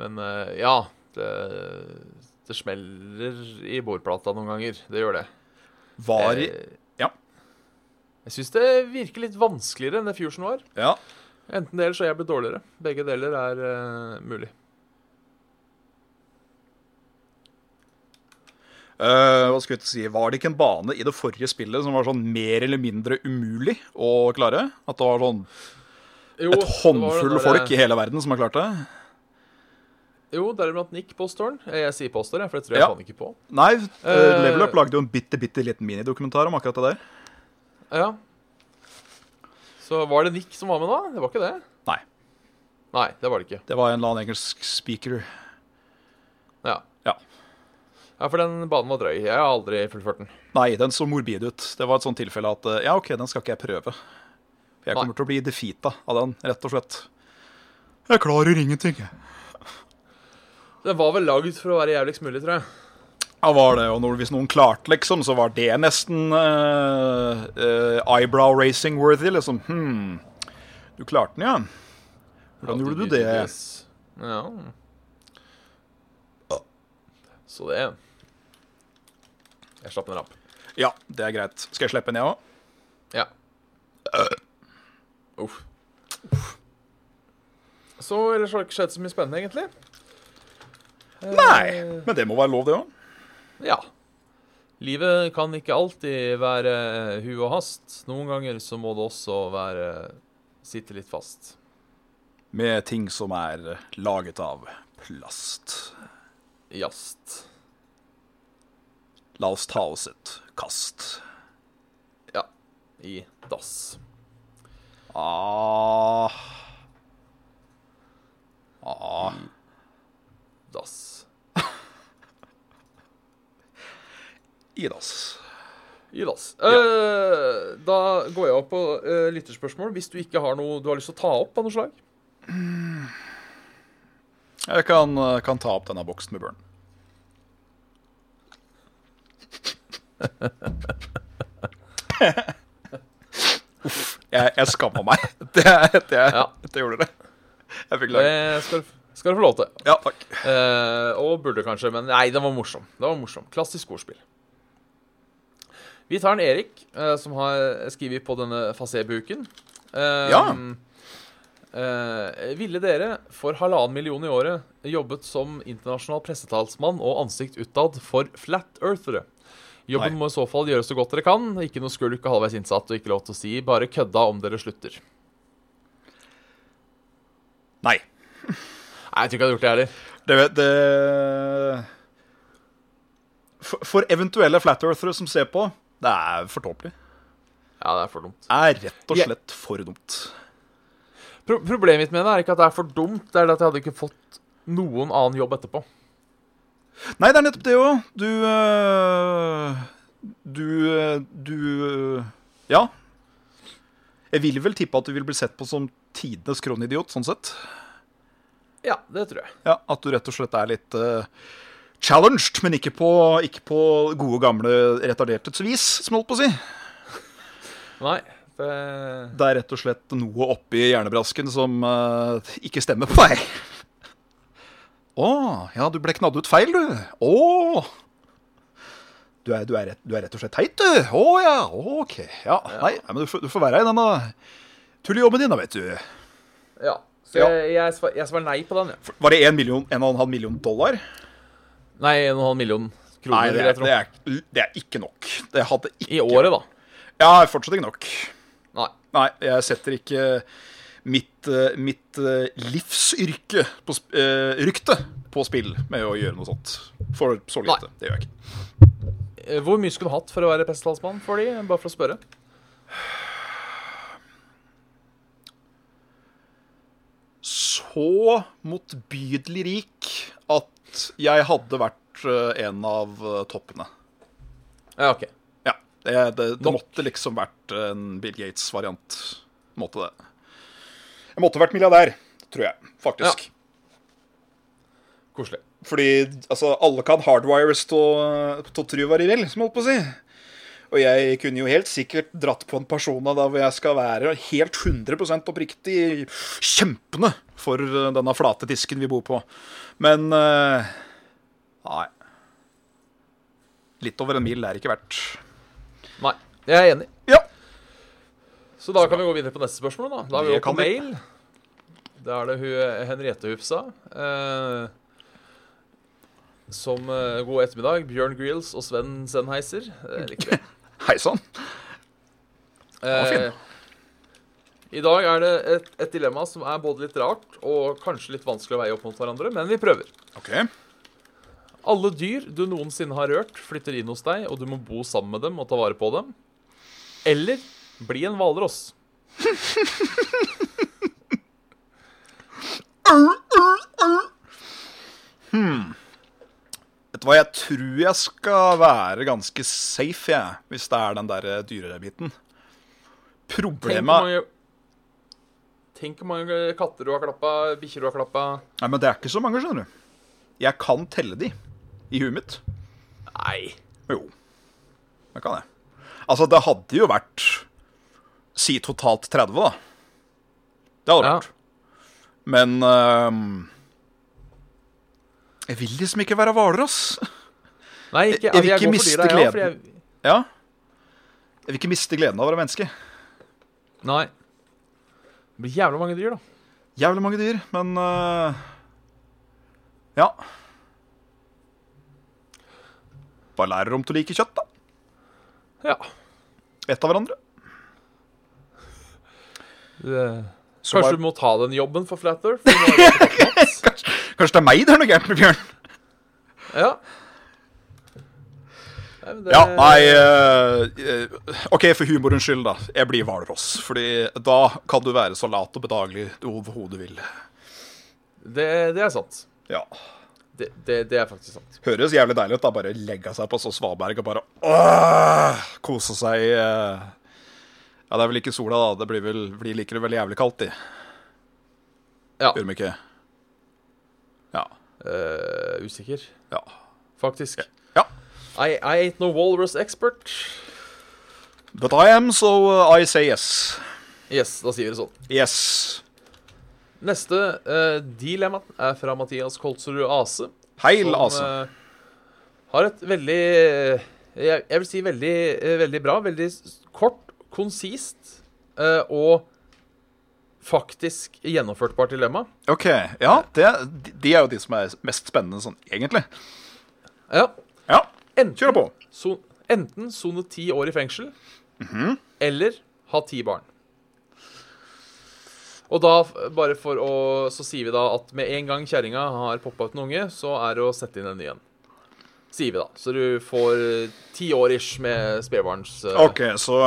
Speaker 2: Men eh, ja, det, det smeller i bordplata noen ganger. Det gjør det.
Speaker 3: Var i
Speaker 2: Eh,
Speaker 3: ja.
Speaker 2: Jeg syns det virker litt vanskeligere enn det Fusion var.
Speaker 3: Ja.
Speaker 2: Enten det eller så er jeg blitt dårligere. Begge deler er eh, mulig.
Speaker 3: Eh, hva skal vi si, Var det ikke en bane i det forrige spillet som var sånn mer eller mindre umulig å klare? At det var sånn
Speaker 2: Jo,
Speaker 3: et håndfull folk i hele verden som har klart det?
Speaker 2: Jo, deriblant Nick påstår han. Eh, Jeg sier påstår, jeg, for det tror jeg
Speaker 3: Ja.
Speaker 2: faen ikke på.
Speaker 3: Nei, uh,
Speaker 2: Eh,
Speaker 3: Level Up lagde jo en bitte, bitte liten minidokumentar om akkurat det der.
Speaker 2: Ja. Så var det Nick som var med da? Det var ikke det?
Speaker 3: Nei,
Speaker 2: Nei, det var det ikke.
Speaker 3: det var en eller annen engelsk speaker.
Speaker 2: Ja.
Speaker 3: Ja.
Speaker 2: ja, for den banen var drøy. Jeg har aldri fullført den.
Speaker 3: Nei, den så morbid ut. Det var et sånt tilfelle at eh, ja, OK, den skal ikke jeg prøve. For jeg
Speaker 2: Nei.
Speaker 3: kommer til å bli defeata av den, rett og slett. Jeg klarer ingenting, jeg.
Speaker 2: Den var vel lagd for å være jævligst mulig, tror jeg.
Speaker 3: Ja, var det, og når, hvis noen klarte, liksom, så var det nesten eh, eh, eyebrow racing worthy, liksom. Hmm. Du klarte den, ja. Hvordan
Speaker 2: At
Speaker 3: gjorde du det?
Speaker 2: tydeligvis- Ja. Så det Jeg slapp den rapp.
Speaker 3: Ja, det er greit. Skal jeg slippe den, jeg òg?
Speaker 2: Ja. Øh. Uff. Så ellers har det ikke skjedd så mye spennende, egentlig.
Speaker 3: Eh. Nei, men det må være lov, det òg.
Speaker 2: Ja. Livet kan ikke alltid være hu og hast. Noen ganger så må det også være sitte litt fast.
Speaker 3: Med ting som er eh, laget av plast.
Speaker 2: Jast.
Speaker 3: La oss ta oss et kast.
Speaker 2: Ja. I dass.
Speaker 3: Ah. Ah.
Speaker 2: Dass.
Speaker 3: Idas.
Speaker 2: I dass. Eh, da går jeg opp på eh, lytterspørsmål. Hvis du ikke har noe du har lyst til å ta opp av noe slag.
Speaker 3: Jeg kan, eh, kan ta opp denne boksen med Børn. Uff, jeg, jeg skamma meg. Det, det,
Speaker 2: Ja.
Speaker 3: det gjorde det. Jeg fikk lag.
Speaker 2: Det eh, skal, du- skal du få lov til.
Speaker 3: Ja, takk.
Speaker 2: Eh, og burde kanskje, men nei, den var morsom. Den var morsom. Klassisk ordspill. Vi tar en Erik, eh, som har skrevet på denne fasébuken. Eh,
Speaker 3: Ja.
Speaker 2: eh, ville dere for halvannen million i året jobbet som internasjonal pressetalsmann og ansikt utad for Flat Earthere? Jobben
Speaker 3: Nei.
Speaker 2: må i så fall gjøres så godt dere kan. Ikke noe skulk og halvveis innsatt og ikke lov til å si 'bare kødda' om dere slutter.
Speaker 3: Nei.
Speaker 2: Nei, jeg tror ikke jeg hadde gjort det heller.
Speaker 3: Det, det for, for eventuelle flat earthere som ser på, det er for tåpelig.
Speaker 2: Ja, det er for dumt.
Speaker 3: Det er rett og
Speaker 2: Jeg-
Speaker 3: slett for dumt.
Speaker 2: Pro problemet mitt med det er ikke at det er for dumt, det er det at jeg hadde ikke fått noen annen jobb etterpå.
Speaker 3: Nei, det er nettopp det òg. Du øh, Du øh, Du øh, Ja. Jeg vil vel tippe at du vil bli sett på som tidenes kronidiot, sånn sett.
Speaker 2: Ja, det tror jeg.
Speaker 3: Ja, At du rett og slett er litt øh, challenged, men ikke på, ikke på gode, gamle retardertets vis, som jeg holdt på å si.
Speaker 2: Nei, eh, det...
Speaker 3: Det er rett og slett noe oppi hjernebrasken som øh, ikke stemmer på deg. Å, ja, du ble knadd ut feil, du. Å. Du er, du, er rett, du er rett og slett teit, du. Å ja, ok. Ja, Nei, nei, men du, får- du får være i denne tullejobben din, da, vet du.
Speaker 2: Ja. Så
Speaker 3: Ja.
Speaker 2: Jeg, jeg, svar, jeg svarer nei på den, ja.
Speaker 3: Var det en, million, en og en halv million dollar?
Speaker 2: Nei, 1,5 million kroner,
Speaker 3: Nei, det
Speaker 2: vil
Speaker 3: er,
Speaker 2: jeg tro.
Speaker 3: det er, det er ikke nok. Det hadde ikke
Speaker 2: I året, da.
Speaker 3: Ja, fortsatt ikke nok.
Speaker 2: Nei.
Speaker 3: Nei, jeg setter ikke mitt, eh, mitt eh, livsyrke på, sp- eh, rykte på spill med å gjøre noe sånt. For så lite.
Speaker 2: Nei.
Speaker 3: Det gjør jeg ikke.
Speaker 2: Eh, Hvor mye skulle du hatt for å være pressetalsmann for de, bare for å spørre?
Speaker 3: Så motbydelig rik at jeg hadde vært eh, en av eh, toppene.
Speaker 2: Ja, ok.
Speaker 3: Ja. Det, det, det måtte liksom vært en Bill Gates-variant. Måtte det. Jeg måtte vært milliardær, tror jeg, faktisk.
Speaker 2: Koselig.
Speaker 3: Fordi altså, alle kan hardwires til til å tru hva de vil, som jeg holdt på å si. Og jeg kunne jo helt sikkert dratt på en persona da hvor jeg skal være helt 100 oppriktig kjempende for eh, denne flate disken vi bor på. Men eh, Nei. Litt over en mil er ikke verdt.
Speaker 2: Nei, jeg er enig.
Speaker 3: Ja.
Speaker 2: Så da kan vi gå videre på neste spørsmål. Da Da er vi
Speaker 3: Det
Speaker 2: over på
Speaker 3: kan vi.
Speaker 2: mail. Da er det hun Henriette Hufsa. Eh, som eh, god ettermiddag, Bjørn Grills og Sven Sennheiser. Eh, liker det.
Speaker 3: Hei sann.
Speaker 2: Eh, I dag er det et, et dilemma som er både litt rart og kanskje litt vanskelig å veie opp mot hverandre, men vi prøver.
Speaker 3: OK.
Speaker 2: Alle dyr du noensinne har rørt, flytter inn hos deg, og du må bo sammen med dem og ta vare på dem. Eller bli en hvalross.
Speaker 3: Vet du hva, jeg tror jeg skal være ganske safe, jeg, hvis det er den der dyrebiten.
Speaker 2: Tenk hvor
Speaker 3: Problemet
Speaker 2: mange, tenk hvor mange katter du har klappa, bikkjer du har klappa
Speaker 3: Nei, men det er ikke så mange, skjønner du. Jeg kan telle de i huet mitt.
Speaker 2: Nei.
Speaker 3: Jo, det kan jeg. Altså, det hadde jo vært Si totalt 30, da. Det hadde det
Speaker 2: Ja.
Speaker 3: vært. Men øhm, Jeg vil liksom ikke være hvalross.
Speaker 2: Nei, ikke,
Speaker 3: Jeg- jeg vil
Speaker 2: altså,
Speaker 3: ikke
Speaker 2: går for
Speaker 3: miste
Speaker 2: dyra, ja, for jeg-
Speaker 3: gleden. Ja. Jeg vil ikke miste gleden av å være menneske.
Speaker 2: Nei. Det blir jævla mange dyr, da.
Speaker 3: Jævlig mange dyr, men øh, Ja. Bare lærer om til å like kjøtt, da.
Speaker 2: Ja.
Speaker 3: Ett av hverandre.
Speaker 2: Det,
Speaker 3: Så
Speaker 2: kanskje
Speaker 3: bare-
Speaker 2: du må ta den jobben for Flat Earth? for nå er det ikke plass.
Speaker 3: Kanskje det er meg det er noe gærent med, Bjørn?
Speaker 2: Ja. Nei, men det-
Speaker 3: Ja, nei eh, eh, OK, for humorens skyld, da. Jeg blir hvalross. Fordi da kan du være så lat og bedagelig du overhodet vil.
Speaker 2: det, det er sant.
Speaker 3: Ja.
Speaker 2: Det, det, det er faktisk sant.
Speaker 3: Høres jævlig deilig ut. da Bare legge seg på så svaberg og bare åh, kose seg. eh. Ja, det er vel ikke sola, da. Det blir vel blir likevel veldig jævlig kaldt, de.
Speaker 2: Ja.
Speaker 3: Gjør de ikke? Ja.
Speaker 2: eh, usikker,
Speaker 3: Ja.
Speaker 2: faktisk.
Speaker 3: ja.
Speaker 2: I, I ain't no walrus expert.
Speaker 3: But I am, so uh, I say yes.
Speaker 2: Yes, da sier vi det sånn.
Speaker 3: Yes.
Speaker 2: Neste eh, dilemma er fra Mathias Koltsrud Ase.
Speaker 3: Heil,
Speaker 2: som,
Speaker 3: Ase.
Speaker 2: eh, har et veldig eh, jeg, jeg vil si veldig, eh, veldig bra. Veldig s- kort, konsist eh, og faktisk gjennomførtbart dilemma.
Speaker 3: OK. Ja, det, de er jo de som er mest spennende sånn egentlig.
Speaker 2: Ja.
Speaker 3: Ja,
Speaker 2: Enten,
Speaker 3: kjør på.
Speaker 2: so, enten sone ti år i fengsel
Speaker 3: Mhm.
Speaker 2: eller ha ti barn. Og da, f- bare for å Så sier vi da at med en gang kjerringa har poppa ut en unge, så er det å sette inn en ny en. Sier vi da. Så du får eh, ti år ish med spedbarns... eh,
Speaker 3: OK, så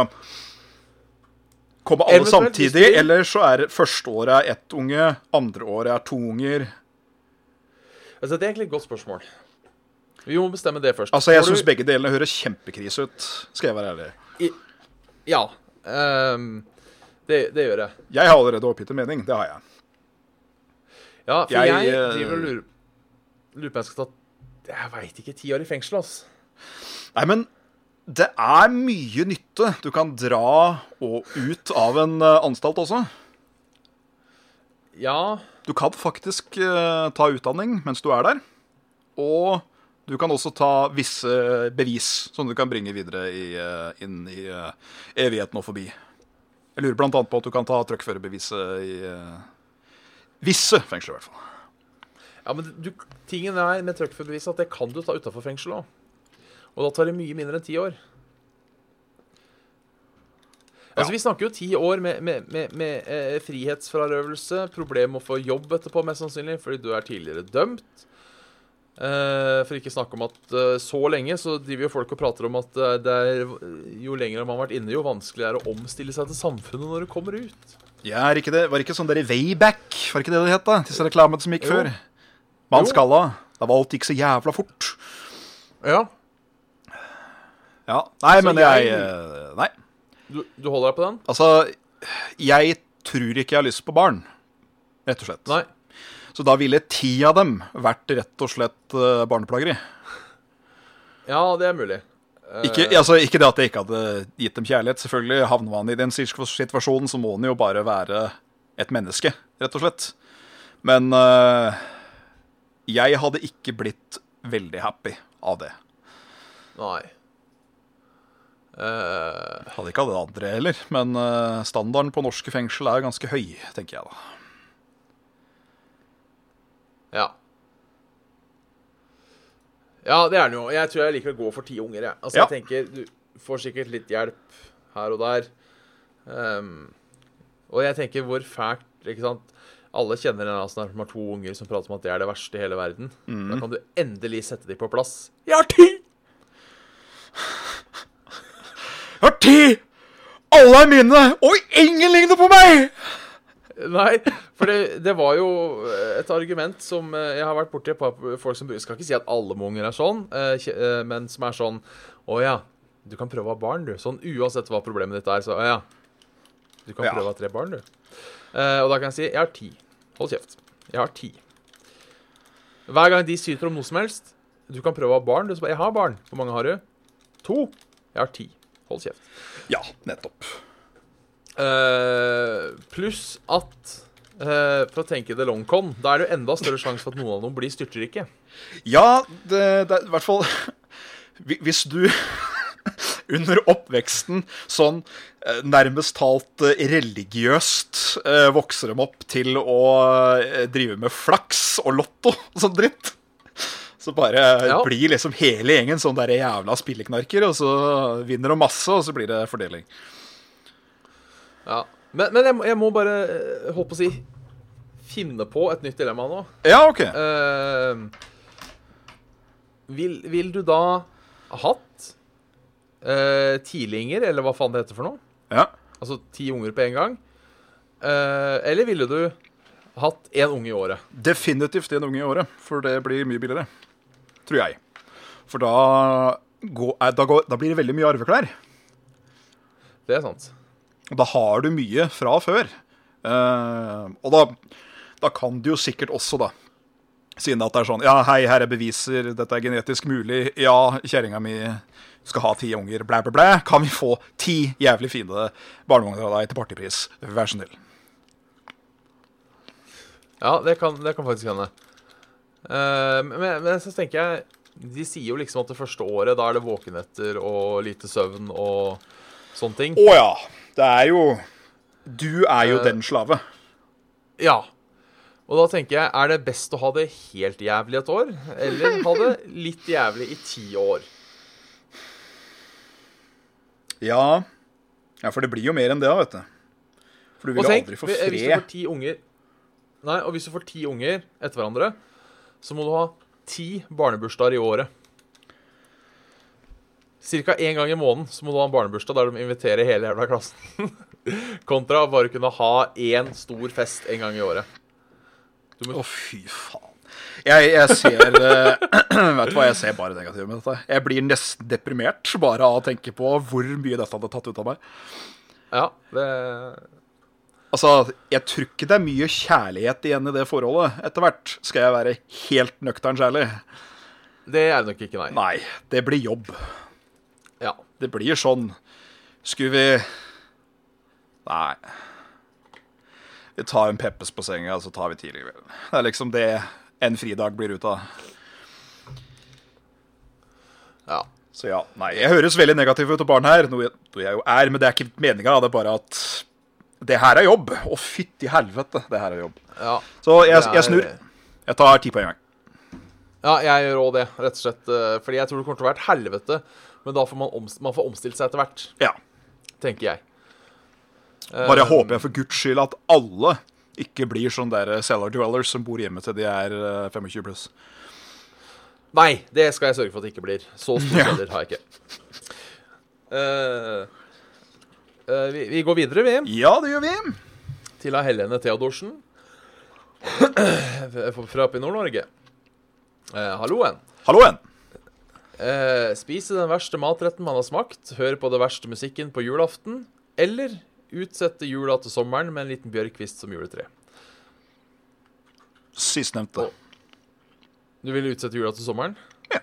Speaker 3: Kommer alle
Speaker 2: Eventuelt hvis
Speaker 3: samtidig,
Speaker 2: de-
Speaker 3: eller så er det første året er ett unge, andre året er to unger
Speaker 2: Altså, det er egentlig et godt spørsmål. Vi må bestemme det først.
Speaker 3: Altså, jeg
Speaker 2: Får du-
Speaker 3: syns begge delene høres kjempekrise ut, skal jeg være ærlig.
Speaker 2: Ja. ehm, det, det gjør jeg.
Speaker 3: Jeg har allerede oppgitt en mening, det har jeg.
Speaker 2: Ja, for
Speaker 3: Jeg,
Speaker 2: jeg,
Speaker 3: eh,
Speaker 2: driver og lurer Lurer på om jeg skal ta Jeg veit ikke. Ti år i fengsel, altså.
Speaker 3: Nei, men det er mye nytte du kan dra og ut av en eh, anstalt også.
Speaker 2: Ja.
Speaker 3: Du kan faktisk eh, ta utdanning mens du er der. Og du kan også ta visse bevis som du kan bringe videre i, eh, inn i eh, evigheten og forbi. Jeg lurer bl.a. på at du kan ta truckførerbeviset i eh, visse fengsler, i hvert fall.
Speaker 2: ja men du, tingen er med truckførerbevis at det kan du ta utafor fengsel òg. Og da tar det mye mindre enn ti år. Altså,
Speaker 3: Ja.
Speaker 2: Vi snakker jo ti år med, med, med, med eh, frihetsfrarøvelse, problem med å få jobb etterpå, mest sannsynlig, fordi du er tidligere dømt. Eh, for ikke snakke om at eh, så lenge så driver jo folk og prater om at eh, det er, jo lenger man har vært inne, jo vanskeligere er det å omstille seg til samfunnet når du kommer ut.
Speaker 3: Ja, er ikke det, Var det ikke sånn der i Wayback? Var det ikke det det het? da? Disse reklamene som gikk
Speaker 2: Jo.
Speaker 3: før? Man
Speaker 2: Jo.
Speaker 3: skalla. Da var alt gikk så jævla fort.
Speaker 2: Ja.
Speaker 3: Ja. Nei,
Speaker 2: Så
Speaker 3: men
Speaker 2: jeg-
Speaker 3: jeg eh, Nei.
Speaker 2: Du, du holder deg på den?
Speaker 3: Altså, jeg tror ikke jeg har lyst på barn, rett og slett.
Speaker 2: Nei.
Speaker 3: Så da ville ti av dem vært rett og slett eh, barneplageri.
Speaker 2: Ja, det er mulig. Eh,
Speaker 3: Ikke, altså, ikke det at jeg ikke hadde gitt dem kjærlighet, selvfølgelig. Havner man i den situasjonen, så må man jo bare være et menneske, rett og slett. Men eh, jeg hadde ikke blitt veldig happy av det.
Speaker 2: Nei. Eh,
Speaker 3: Hadde ikke av det andre heller, men eh, standarden på norske fengsel er ganske høy, tenker jeg da.
Speaker 2: ja. Ja, det er den jo. Jeg tror jeg liker å gå for ti unger, jeg. Altså,
Speaker 3: Ja.
Speaker 2: jeg tenker, du får sikkert litt hjelp her og der. Ehm, og jeg tenker, hvor fælt, ikke sant? Alle kjenner en altså, som har to unger som prater om at det er det verste i hele verden. Da kan du endelig sette dem på plass. Jeg har ti!
Speaker 3: Jeg har ti! Alle er mine, og ingen ligner på meg!
Speaker 2: Nei, for det, det var jo eh, et argument som eh, jeg har vært borti et par folk som Skal ikke si at alle med unger er sånn, eh, kje- eh, men som er sånn Å ja, du kan prøve å ha barn, du. Sånn uansett hva problemet ditt er, så å ja. Du kan
Speaker 3: Ja.
Speaker 2: prøve å ha tre barn, du. Eh, og da kan jeg si jeg har ti. Hold kjeft. Jeg har ti. Hver gang de syter om noe som helst Du kan prøve å ha barn, du. Så bare Jeg har barn. Hvor mange har du? To. Jeg har ti. Hold kjeft.
Speaker 3: Ja, nettopp.
Speaker 2: Eh, pluss at eh, For å tenke the long con, da er det jo enda større sjanse for at noen av dem blir styrtrike.
Speaker 3: Ja, det, det er i hvert fall hvi- Hvis du under oppveksten sånn eh, nærmest talt eh, religiøst eh, vokser dem opp til å eh, drive med flaks og lotto og sånn dritt, så bare
Speaker 2: Ja.
Speaker 3: blir liksom hele gjengen sånn der jævla spilleknarker, og så vinner de masse, og så blir det fordeling.
Speaker 2: Ja. Men, men jeg, må- jeg må bare eh, holdt på å si finne på et nytt dilemma nå.
Speaker 3: Ja, OK.
Speaker 2: Eh, vil, vil du da ha hatt uh, tidlinger, eller hva faen det heter for noe?
Speaker 3: Ja.
Speaker 2: Altså ti unger på én gang? Eh, eller ville du hatt én unge i året?
Speaker 3: Definitivt en unge i året, for det blir mye billigere. Tror jeg. For da, går, eh, da, går, da blir det veldig mye arveklær.
Speaker 2: Det er sant.
Speaker 3: Og da har du mye fra før. Eh, og da, da kan du jo sikkert også, da, siden at det er sånn Ja, hei, her er beviser, dette er genetisk mulig. Ja, kjerringa mi skal ha ti unger, blæ, blæ, blæ. Kan vi få ti jævlig fine barnevogner av deg til partypris? Vær så snill.
Speaker 2: Ja, det kan, det kan faktisk hende. Eh, men, men så tenker jeg De sier jo liksom at det første året da er det våkenetter og lite søvn og sånne ting.
Speaker 3: Å ja. Det er jo Du er jo
Speaker 2: Eh,
Speaker 3: den slave.
Speaker 2: Ja. Og da tenker jeg, er det best å ha det helt jævlig et år, eller ha det litt jævlig i ti år?
Speaker 3: Ja. ja, for det blir jo mer enn det, da, vet du. For du vil
Speaker 2: Og
Speaker 3: jo
Speaker 2: tenk,
Speaker 3: aldri få
Speaker 2: hvis hvis du
Speaker 3: fred.
Speaker 2: får ti unger Nei, og hvis du får ti unger etter hverandre, så må du ha ti barnebursdager i året. Cirka én gang i måneden så må du ha en barnebursdag der de inviterer hele jævla klassen. Kontra å bare kunne ha én stor fest en gang i året.
Speaker 3: Å, fy faen. Jeg, jeg ser eh, Vet du hva, jeg ser bare negativt med dette. Jeg blir nesten deprimert bare av å tenke på hvor mye dette hadde tatt ut av meg.
Speaker 2: Ja, det
Speaker 3: Altså, Jeg tror ikke det er mye kjærlighet igjen i det forholdet etter hvert. Skal jeg være helt nøktern kjærlig?
Speaker 2: Det er det nok ikke, nei.
Speaker 3: Nei, det blir jobb.
Speaker 2: Ja.
Speaker 3: Det blir sånn Skulle vi Nei. Vi tar en Peppes på senga, så tar vi tidlig kveld. Det er liksom det en fridag blir ut av.
Speaker 2: ja.
Speaker 3: Så ja, nei, jeg høres veldig negativ ut til barn her, noe jeg, noe jeg jo er, men det er ikke meninga. Det er bare at det her er jobb. Å, fytti helvete, det her er jobb.
Speaker 2: ja.
Speaker 3: Så jeg,
Speaker 2: Det er-
Speaker 3: jeg snur. Jeg tar ti poeng.
Speaker 2: Ja, jeg gjør òg det, rett og slett. eh, Fordi jeg tror det kommer til å være et helvete. Men da får man, omst man får omstilt seg etter hvert,
Speaker 3: Ja.
Speaker 2: tenker jeg. Eh,
Speaker 3: Bare jeg håper jeg for guds skyld at alle ikke blir sånn der cellar dwellers som bor hjemme til de er eh, 25 pluss.
Speaker 2: Nei, det skal jeg sørge for at det ikke blir. Så stor
Speaker 3: Ja.
Speaker 2: kjeller har jeg ikke. Eh, eh, vi, vi går videre, vi,
Speaker 3: Ja, det gjør vi.
Speaker 2: til av Helene Theodorsen fra oppe i Nord-Norge. Eh, halloen.
Speaker 3: Halloen.
Speaker 2: Eh, spise den verste matretten man har smakt, høre på det verste musikken på julaften, eller utsette jula til sommeren med en liten bjørkvist som juletre.
Speaker 3: Sistnevnte.
Speaker 2: Du vil utsette jula til sommeren?
Speaker 3: Ja.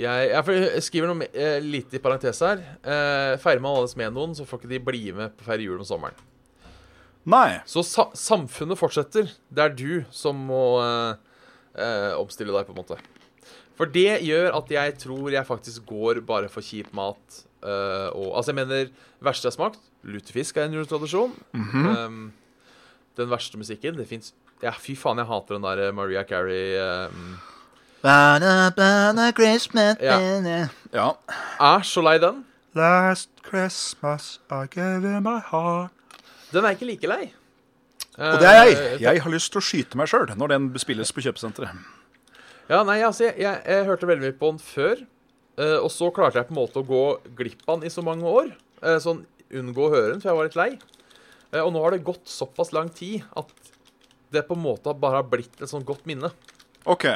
Speaker 2: Jeg, jeg, får- jeg skriver noe me- eh, litt i parentes her. Eh, feirer man alles med noen, så får ikke de bli med på å feire jul om sommeren.
Speaker 3: Nei.
Speaker 2: Så sa samfunnet fortsetter. Det er du som må eh, eh, omstille deg, på en måte. For det gjør at jeg tror jeg faktisk går bare for kjip mat. eh, og, altså, jeg mener, verste jeg har smakt Lutefisk er en juletradisjon. um, den verste musikken Det fins ja, Fy faen, jeg hater den der Maria Carey um,
Speaker 3: Bada, bada, Christmas,
Speaker 2: Ja.
Speaker 3: bada. ja.
Speaker 2: Er så lei den.
Speaker 3: Last Christmas I gave you my heart.
Speaker 2: Den er ikke like lei.
Speaker 3: Og det er
Speaker 2: Eh,
Speaker 3: jeg. Jeg har lyst til å skyte meg sjøl når den spilles på kjøpesenteret.
Speaker 2: Ja, nei, altså, jeg, jeg, jeg hørte veldig mye på den før, eh, og så klarte jeg på en måte å gå glipp av den i så mange år. eh, sånn unngå å høre den, for jeg var litt lei. Eh, og nå har det gått såpass lang tid at det på en måte bare har blitt et sånn godt minne.
Speaker 3: OK.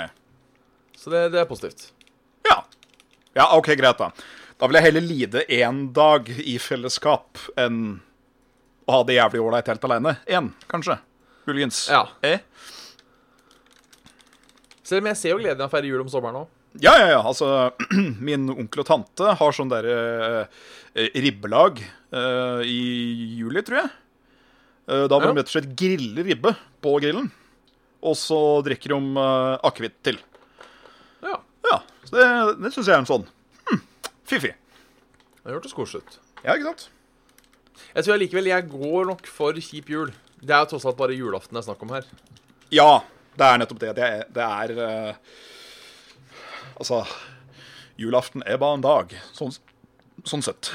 Speaker 2: Så det, det er positivt.
Speaker 3: Ja. ja. OK, greit, da. Da vil jeg heller lide én dag i fellesskap enn å ha det jævlig ålreit helt aleine. Én, kanskje. Muligens.
Speaker 2: Ja.
Speaker 3: Eh?
Speaker 2: Selv om jeg ser jo gleden i å feire jul om sommeren òg.
Speaker 3: Ja, ja, ja. Altså, min onkel og tante har sånn derre eh, ribbelag eh, i juli, tror jeg. Eh, da
Speaker 2: Ja.
Speaker 3: må de rett og slett grille ribbe på grillen. Og så drikker de eh, akevitt til.
Speaker 2: Ja,
Speaker 3: Ja, så det, det syns jeg er en sånn hm, fiffig.
Speaker 2: det hørtes koselig ut.
Speaker 3: Ja, ikke sant?
Speaker 2: Jeg tror allikevel jeg går nok for kjip jul. Det er jo tross alt bare julaften det er snakk om her.
Speaker 3: Ja, det er nettopp det. Det er, det er eh, Altså, julaften er bare en dag. Sånn, sånn sett.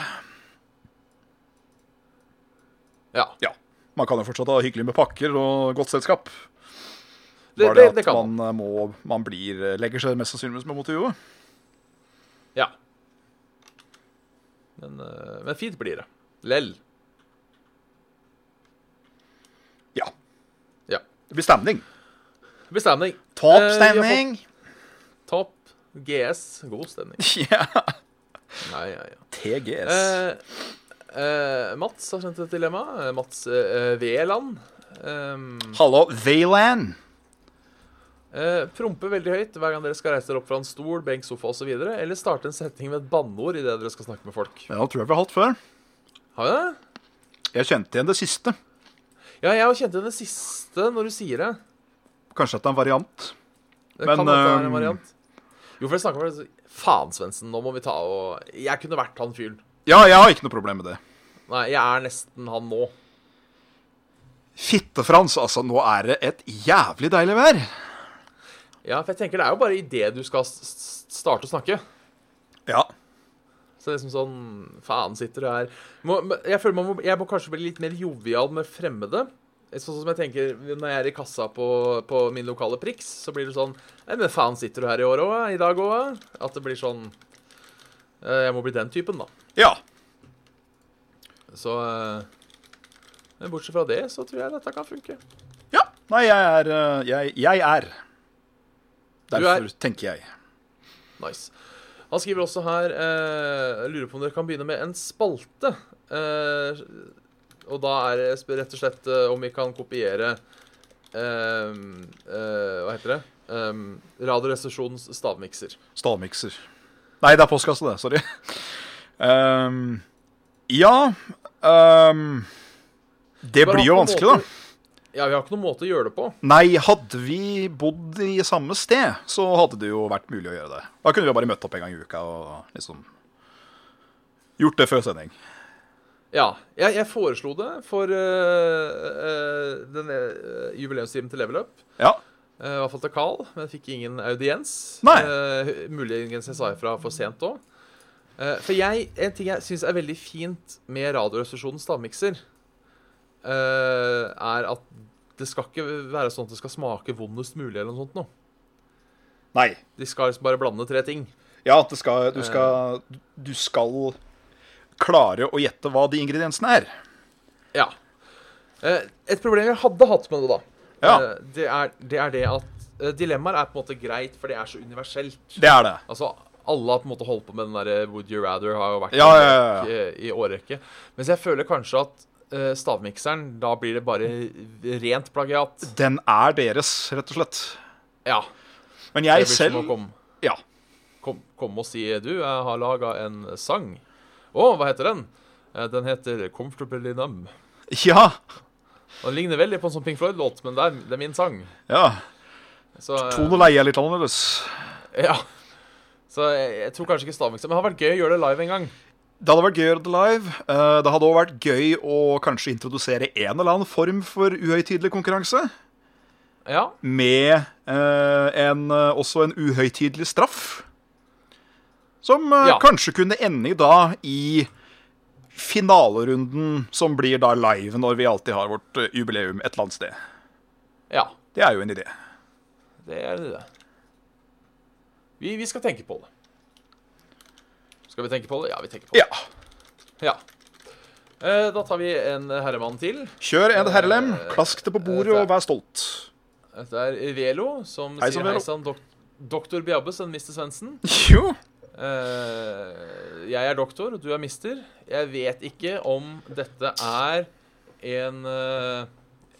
Speaker 2: Ja.
Speaker 3: Ja. Man kan jo fortsatt ha hyggelig med pakker og godt selskap.
Speaker 2: Det,
Speaker 3: Bare
Speaker 2: det,
Speaker 3: at
Speaker 2: det kan man.
Speaker 3: man, eh, må, man blir, eh, legger seg mest sannsynligvis med mot i huet.
Speaker 2: Ja. Men, eh, men fint blir det. Lell.
Speaker 3: Ja.
Speaker 2: Ja.
Speaker 3: Det blir stemning.
Speaker 2: Bestemning.
Speaker 3: Topp
Speaker 2: Eh, vi har
Speaker 3: stemning!
Speaker 2: Topp. GS. God stemning.
Speaker 3: Ja.
Speaker 2: Ja, ja, ja.
Speaker 3: TGS.
Speaker 2: Eh, eh, Mats har sendt et dilemma. Eh, Mats eh, Veland. Um,
Speaker 3: Hallo, Veiland.
Speaker 2: eh, prompe veldig høyt hver gang dere skal reise dere opp fra en stol, benk, sofa osv. Eller starte en setning med et banneord idet dere skal snakke med folk.
Speaker 3: Ja, tror jeg vi har hatt før.
Speaker 2: Har vi det?
Speaker 3: Jeg kjente igjen det siste.
Speaker 2: Ja, jeg har kjent igjen det siste når du sier det.
Speaker 3: Kanskje at det er en variant.
Speaker 2: Det
Speaker 3: Men,
Speaker 2: kan godt være
Speaker 3: ehm,
Speaker 2: en variant. Jo, for jeg snakker om det så- Faen, Svendsen, nå må vi ta og Jeg kunne vært han fyren.
Speaker 3: Ja, jeg har ikke noe problem med det.
Speaker 2: Nei, jeg er nesten han nå.
Speaker 3: Fitte-Frans, altså, nå er det et jævlig deilig vær.
Speaker 2: Ja, for jeg tenker det er jo bare idet du skal s- s- starte å snakke.
Speaker 3: Ja.
Speaker 2: Så det er liksom sånn Faen, sitter du her må, men Jeg føler man må, jeg må kanskje bli litt mer jovial med fremmede. Sånn som jeg tenker når jeg er i kassa på, på min lokale Prix, så blir det sånn Nei, men faen, sitter du her i år òg? I dag òg? At det blir sånn eh, Jeg må bli den typen, da.
Speaker 3: Ja.
Speaker 2: Så eh, Men bortsett fra det, så tror jeg dette kan funke.
Speaker 3: ja. Nei, jeg er eh, Jeg, jeg er.
Speaker 2: Du er.
Speaker 3: Derfor tenker jeg.
Speaker 2: Nice. Han skriver også her eh, Lurer på om dere kan begynne med en spalte. Eh, og da er det sp- rett og slett eh, om vi kan kopiere eh, eh, Hva heter det? Eh, Radioresepsjonens stavmikser.
Speaker 3: Stavmikser. Nei, det er postkasse, det. Sorry. Ehm, ja ehm, Det
Speaker 2: Bare
Speaker 3: blir jo
Speaker 2: på en
Speaker 3: vanskelig, da.
Speaker 2: måte- Ja, vi har ikke noen måte å gjøre det på.
Speaker 3: Nei, hadde vi bodd i samme sted, så hadde det jo vært mulig å gjøre det. Da kunne vi jo bare møtt opp en gang i uka og liksom gjort det før sending.
Speaker 2: Ja, jeg, jeg foreslo det for eh, eh, den eh, jubileumstimen til Level Up.
Speaker 3: Ja.
Speaker 2: Eh, I hvert fall til Carl, men fikk ingen audiens.
Speaker 3: Nei.
Speaker 2: Eh, muligens jeg sa ifra for sent òg. for jeg, en ting jeg syns er veldig fint med Radioresepsjonens stavmikser, eh, er at det skal ikke være sånn at det skal smake vondest mulig eller noe sånt noe.
Speaker 3: Nei.
Speaker 2: De skal liksom bare blande tre ting.
Speaker 3: Ja, at det skal, du, skal, du skal klare å gjette hva de ingrediensene er.
Speaker 2: Ja. Eh, et problem jeg hadde hatt med det, da,
Speaker 3: Ja.
Speaker 2: eh, det, er, det er det at eh, dilemmaer er på en måte greit, for det er så universelt.
Speaker 3: Det er det.
Speaker 2: Altså, alle har på en måte holdt på med den der eh, Would you rather har jo vært
Speaker 3: Ja, ja, ja, ja.
Speaker 2: eh, i- i årrekke. Mens jeg føler kanskje at eh, stavmikseren, da blir det bare rent plagiat.
Speaker 3: Den er deres, rett og slett.
Speaker 2: Ja.
Speaker 3: Men
Speaker 2: det
Speaker 3: jeg
Speaker 2: blir
Speaker 3: selv
Speaker 2: som å komme
Speaker 3: Ja.
Speaker 2: kom, kom og si du, jeg har laga en sang. Å, hva heter den? Eh, Den heter 'Comfortably Numb'.
Speaker 3: Ja.
Speaker 2: Og Den ligner veldig på en sånn Pink Floyd-låt, men det er, det er min sang.
Speaker 3: ja.
Speaker 2: Så, eh,
Speaker 3: Tone og leie er litt annerledes.
Speaker 2: ja. Så jeg, jeg tror kanskje ikke stavmikser, men det har vært gøy å gjøre det live en gang.
Speaker 3: Det hadde vært gøy å gjøre det live. Eh, Det hadde òg vært gøy å kanskje introdusere en eller annen form for uhøytidelig konkurranse.
Speaker 2: Ja,
Speaker 3: Med eh, en, eh, også en uhøytidelig straff. Som eh,
Speaker 2: Ja.
Speaker 3: kanskje kunne ende i da i finalerunden, som blir da live når vi alltid har vårt eh, jubileum et eller annet sted.
Speaker 2: ja.
Speaker 3: Det er jo en idé.
Speaker 2: Det er det. Vi, vi skal tenke på det. Skal vi tenke på det? Ja, vi tenker på det.
Speaker 3: Ja.
Speaker 2: Ja. Eh, da tar vi en herremann til.
Speaker 3: Kjør en herrelem,
Speaker 2: Eh,
Speaker 3: klask det på bordet og vær stolt.
Speaker 2: Dette er Velo, som
Speaker 3: Hei sann,
Speaker 2: sier
Speaker 3: Velo.
Speaker 2: hei sann, dok doktor Biabbe, sønn Mr. Svendsen.
Speaker 3: Jo.
Speaker 2: Eh, jeg er doktor, du er mister. Jeg vet ikke om dette er en eh,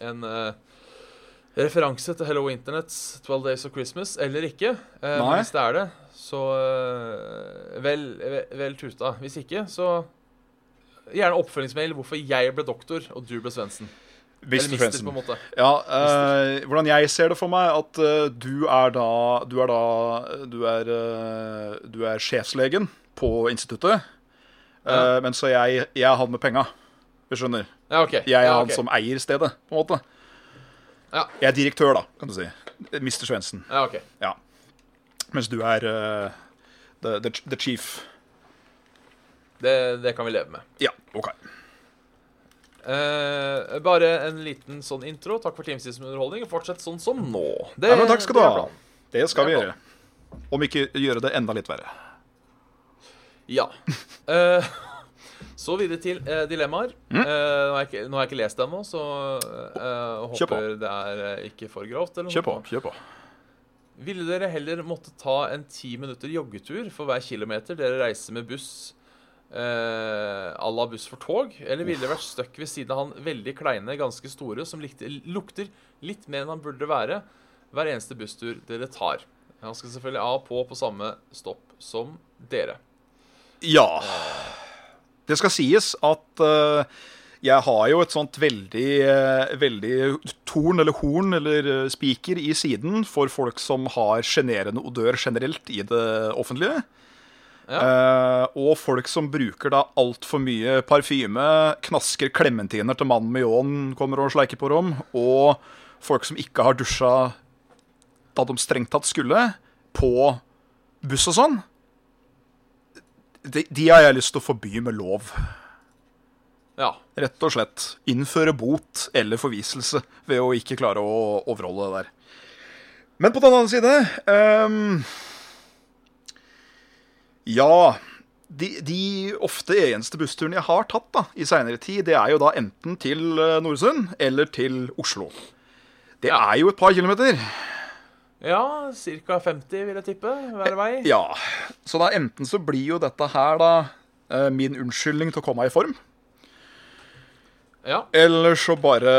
Speaker 2: en eh, referanse til Hello Internets 12 Days of Christmas eller ikke. Eh, men
Speaker 3: Nei.
Speaker 2: Hvis det er det, så eh, vel, ve- vel tuta. Hvis ikke, så gjerne oppfølgingsmail hvorfor jeg ble doktor og du ble Svendsen. Eller
Speaker 3: Mr.
Speaker 2: mister, på
Speaker 3: Svendsen.
Speaker 2: en måte.
Speaker 3: Ja, eh, hvordan jeg ser det for meg, at eh, du er da Du er da Du er, eh, du er sjefslegen på instituttet.
Speaker 2: Ja.
Speaker 3: Eh, men så jeg, jeg er han med penga. Du skjønner.
Speaker 2: Ja, ok.
Speaker 3: Jeg er
Speaker 2: ja,
Speaker 3: han
Speaker 2: ok.
Speaker 3: som eier stedet, på en måte.
Speaker 2: Ja.
Speaker 3: Jeg er direktør, da, kan du si. Mr. Svendsen.
Speaker 2: ja, ok.
Speaker 3: Ja. Mens du er eh, the, the, the chief.
Speaker 2: Det, det kan vi leve med.
Speaker 3: Ja, OK.
Speaker 2: Eh, bare en liten sånn intro. Takk for timesvis med underholdning. og Fortsett sånn som nå. Det-
Speaker 3: Ja, men takk skal du
Speaker 2: det er
Speaker 3: ha.
Speaker 2: planen.
Speaker 3: Det skal vi
Speaker 2: Det er
Speaker 3: gjøre. Om ikke gjøre det enda litt verre.
Speaker 2: Ja. Eh, så videre til eh, dilemmaer. Eh,
Speaker 3: Mm.
Speaker 2: nå, har jeg ikke, nå har jeg ikke lest det ennå, så eh,
Speaker 3: Kjør på.
Speaker 2: håper det er eh, ikke for grovt. Eller noe.
Speaker 3: Kjør på. kjør på.
Speaker 2: Ville dere heller måtte ta en ti minutter joggetur for hver kilometer dere reiser med buss eh, à la buss for tog? Eller ville dere vært stuck ved siden av han veldig kleine, ganske store, som likte, lukter litt mer enn han burde være, hver eneste busstur dere tar? Han skal selvfølgelig av og på på samme stopp som dere.
Speaker 3: Ja. Det skal sies at eh, jeg har jo et sånt veldig, eh, veldig torn eller horn eller eh, spiker i siden for folk som har sjenerende odør generelt i det offentlige. Eh, og folk som bruker da altfor mye parfyme, knasker klementiner til mannen med ljåen kommer og sleiker på dem, og folk som ikke har dusja da de strengt tatt skulle, på buss og sånn. De, de har jeg lyst til å forby med lov.
Speaker 2: Ja.
Speaker 3: Rett og slett. Innføre bot eller forviselse ved å ikke klare å overholde det der. Men på den annen side ehm, Ja. De, de ofte eneste bussturene jeg har tatt da, i seinere tid, det er jo da enten til eh, Noresund eller til Oslo. Det er jo et par kilometer.
Speaker 2: Ja, ca. 50 vil jeg tippe hver vei.
Speaker 3: Ja. Så da enten så blir jo dette her da eh, min unnskyldning til å komme meg i form.
Speaker 2: Ja.
Speaker 3: Eller så bare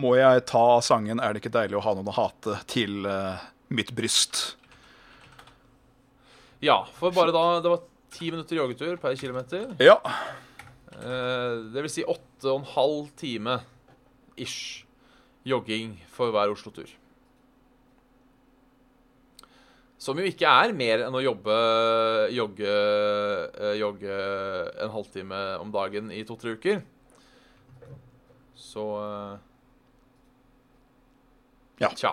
Speaker 3: må jeg ta sangen 'Er det ikke deilig å ha noen å hate' til eh, mitt bryst.
Speaker 2: ja, for bare da Det var ti minutter joggetur per kilometer.
Speaker 3: Ja.
Speaker 2: Eh, det vil si åtte og en halv time ish jogging for hver Oslo-tur. Som jo ikke er mer enn å jobbe jogge, eh, jogge en halvtime om dagen i to-tre uker. Så eh,
Speaker 3: Ja.
Speaker 2: Tja.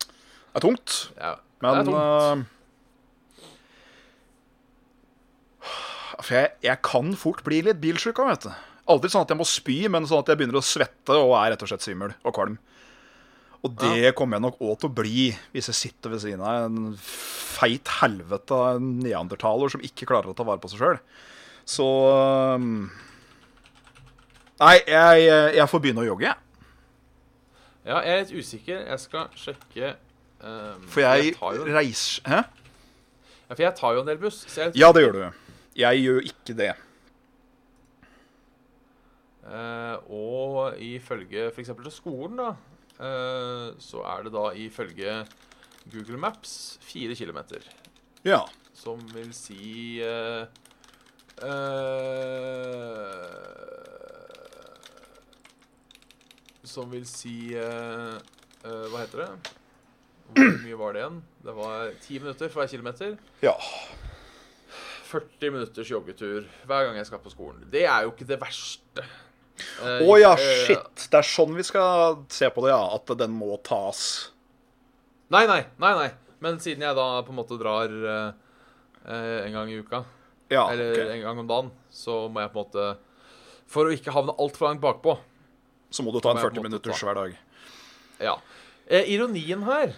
Speaker 3: Det er tungt,
Speaker 2: Ja,
Speaker 3: men
Speaker 2: det er tungt.
Speaker 3: eh, For jeg, jeg kan fort bli litt bilsjuk av, vet du. Aldri sånn at jeg må spy, men sånn at jeg begynner å svette og er rett og slett svimmel og kvalm. Og det kommer jeg nok òg til å bli hvis jeg sitter ved siden av en feit helvete av en neandertaler som ikke klarer å ta vare på seg sjøl. Så eh, Nei, jeg, jeg får begynne å jogge, jeg.
Speaker 2: Ja, jeg er litt usikker. Jeg skal sjekke ehm,
Speaker 3: For jeg
Speaker 2: tar jo,
Speaker 3: reiser Hæ?
Speaker 2: ja, For jeg tar jo en del buss. Så jeg,
Speaker 3: Ja, det gjør du. Jeg gjør ikke det.
Speaker 2: Eh, og ifølge f.eks. til skolen, da, eh, så er det da ifølge Google Maps fire kilometer.
Speaker 3: Ja.
Speaker 2: Som vil si eh, eh, Som vil si eh, eh, Hva heter det? Hvor mye var det igjen? Det var ti minutter for hver kilometer.
Speaker 3: Ja.
Speaker 2: 40 minutters joggetur hver gang jeg skal på skolen. Det er jo ikke det verste. Eh,
Speaker 3: Å ja,
Speaker 2: eh,
Speaker 3: shit. Det er sånn vi skal se på det, ja. At den må tas.
Speaker 2: Nei, nei, nei, nei. Men siden jeg da på en måte drar eh, eh, en gang i uka,
Speaker 3: Ja,
Speaker 2: eller
Speaker 3: Ah, ok.
Speaker 2: en gang om dagen, så må jeg på en måte For å ikke havne altfor langt bakpå.
Speaker 3: Så må du ta en
Speaker 2: Må jeg på en
Speaker 3: 40
Speaker 2: måte
Speaker 3: minutters
Speaker 2: ta-
Speaker 3: hver dag.
Speaker 2: Ja. Eh, ironien her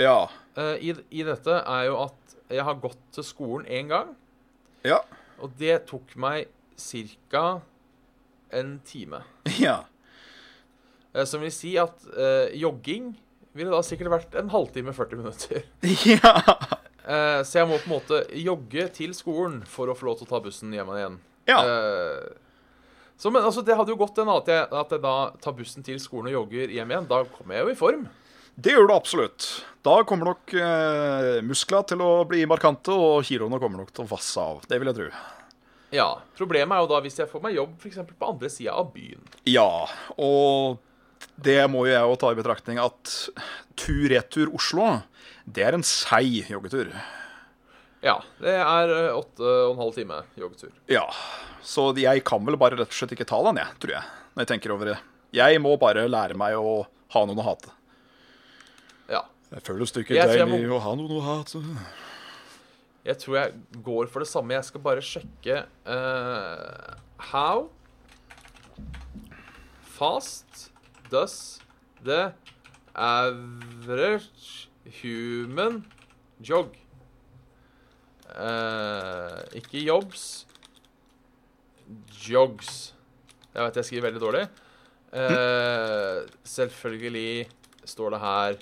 Speaker 3: Ja.
Speaker 2: eh, i, i dette er jo at jeg har gått til skolen én gang,
Speaker 3: Ja.
Speaker 2: og det tok meg ca. en time.
Speaker 3: Ja.
Speaker 2: Eh, som vil si at eh, jogging ville da sikkert vært en halvtime 40 minutter.
Speaker 3: Ja.
Speaker 2: Eh, så jeg må på en måte jogge til skolen for å få lov til å ta bussen hjem igjen.
Speaker 3: Ja.
Speaker 2: Eh, så, men altså, det hadde jo gått den at jeg, at jeg da tar bussen til skolen og jogger hjem igjen. Da kommer jeg jo i form.
Speaker 3: Det gjør du absolutt. Da kommer nok eh, muskla til å bli markante, og kiloene kommer nok til å vasse av. Det vil jeg tro.
Speaker 2: Ja, Problemet er jo da hvis jeg får meg jobb for eksempel på andre sida av byen.
Speaker 3: Ja, og det må jo jeg jo ta i betraktning at tur-retur Oslo, det er en seig joggetur.
Speaker 2: Ja, det er eh, åtte og en halv time joggetur.
Speaker 3: Ja, så jeg kan vel bare rett og slett ikke ta den, jeg, tror jeg. Når jeg tenker over det. Jeg må bare lære meg å ha noen å hate.
Speaker 2: Ja.
Speaker 3: Det føles ikke
Speaker 2: Jeg tror jeg
Speaker 3: deilig å ha noen å hate.
Speaker 2: Jeg tror jeg går for det samme. Jeg skal bare sjekke eh, How fast does the average human jog? Eh, ikke jobs. Jogs. Jeg vet jeg skriver veldig dårlig. Eh, selvfølgelig står det her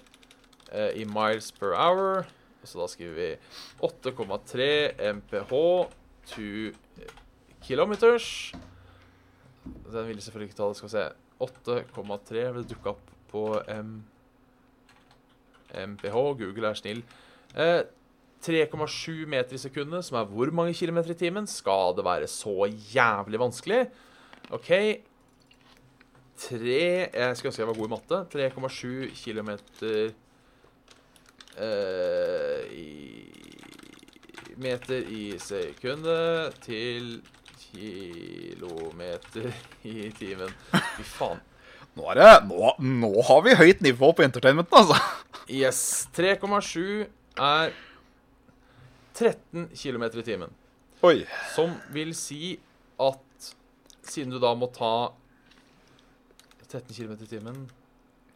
Speaker 2: eh, i miles per hour. Så da skriver vi 8,3 MPH to kilometers. Den ville selvfølgelig ikke ta det, skal vi se. 8,3 vil dukke opp på M MPH. Google er snill. Eh, 3,7 meter i sekundet, som er hvor mange kilometer i timen? Skal det være så jævlig vanskelig? OK. 3 Jeg skulle ønske jeg var god i matte. 3,7 kilometer eh, i meter i sekundet til kilometer i timen. Fy faen.
Speaker 3: Nå, er det, nå, nå har vi høyt nivå på entertainmenten, altså.
Speaker 2: Yes. 3,7 er 13 kilometer i timen.
Speaker 3: Oi.
Speaker 2: Som vil si at siden du da må ta 13 km i timen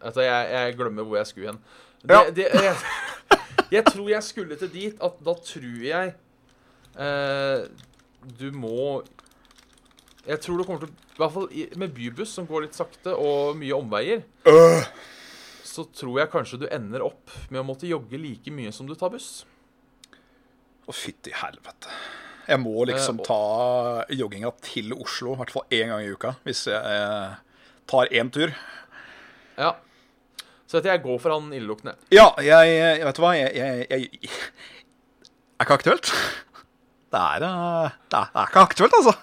Speaker 2: Vet du, jeg, jeg glemmer hvor jeg skulle hen. Det,
Speaker 3: Ja.
Speaker 2: det, jeg, jeg tror jeg skulle til dit at da tror jeg eh, du må Jeg tror du kommer til å- I hvert fall i- med bybuss, som går litt sakte, og mye omveier,
Speaker 3: Øh.
Speaker 2: så tror jeg kanskje du ender opp med å måtte jogge like mye som du tar buss.
Speaker 3: Å, fytti helvete. Jeg må liksom
Speaker 2: Eh, og-
Speaker 3: ta jogginga til Oslo i hvert fall én gang i uka. Hvis jeg eh, tar én tur.
Speaker 2: Ja. Så vet du, jeg går for han illeluktende.
Speaker 3: Ja, jeg, jeg Vet du hva? Jeg, jeg, jeg, jeg Er ikke aktuelt. Det er, eh, det er, det er ikke aktuelt, altså.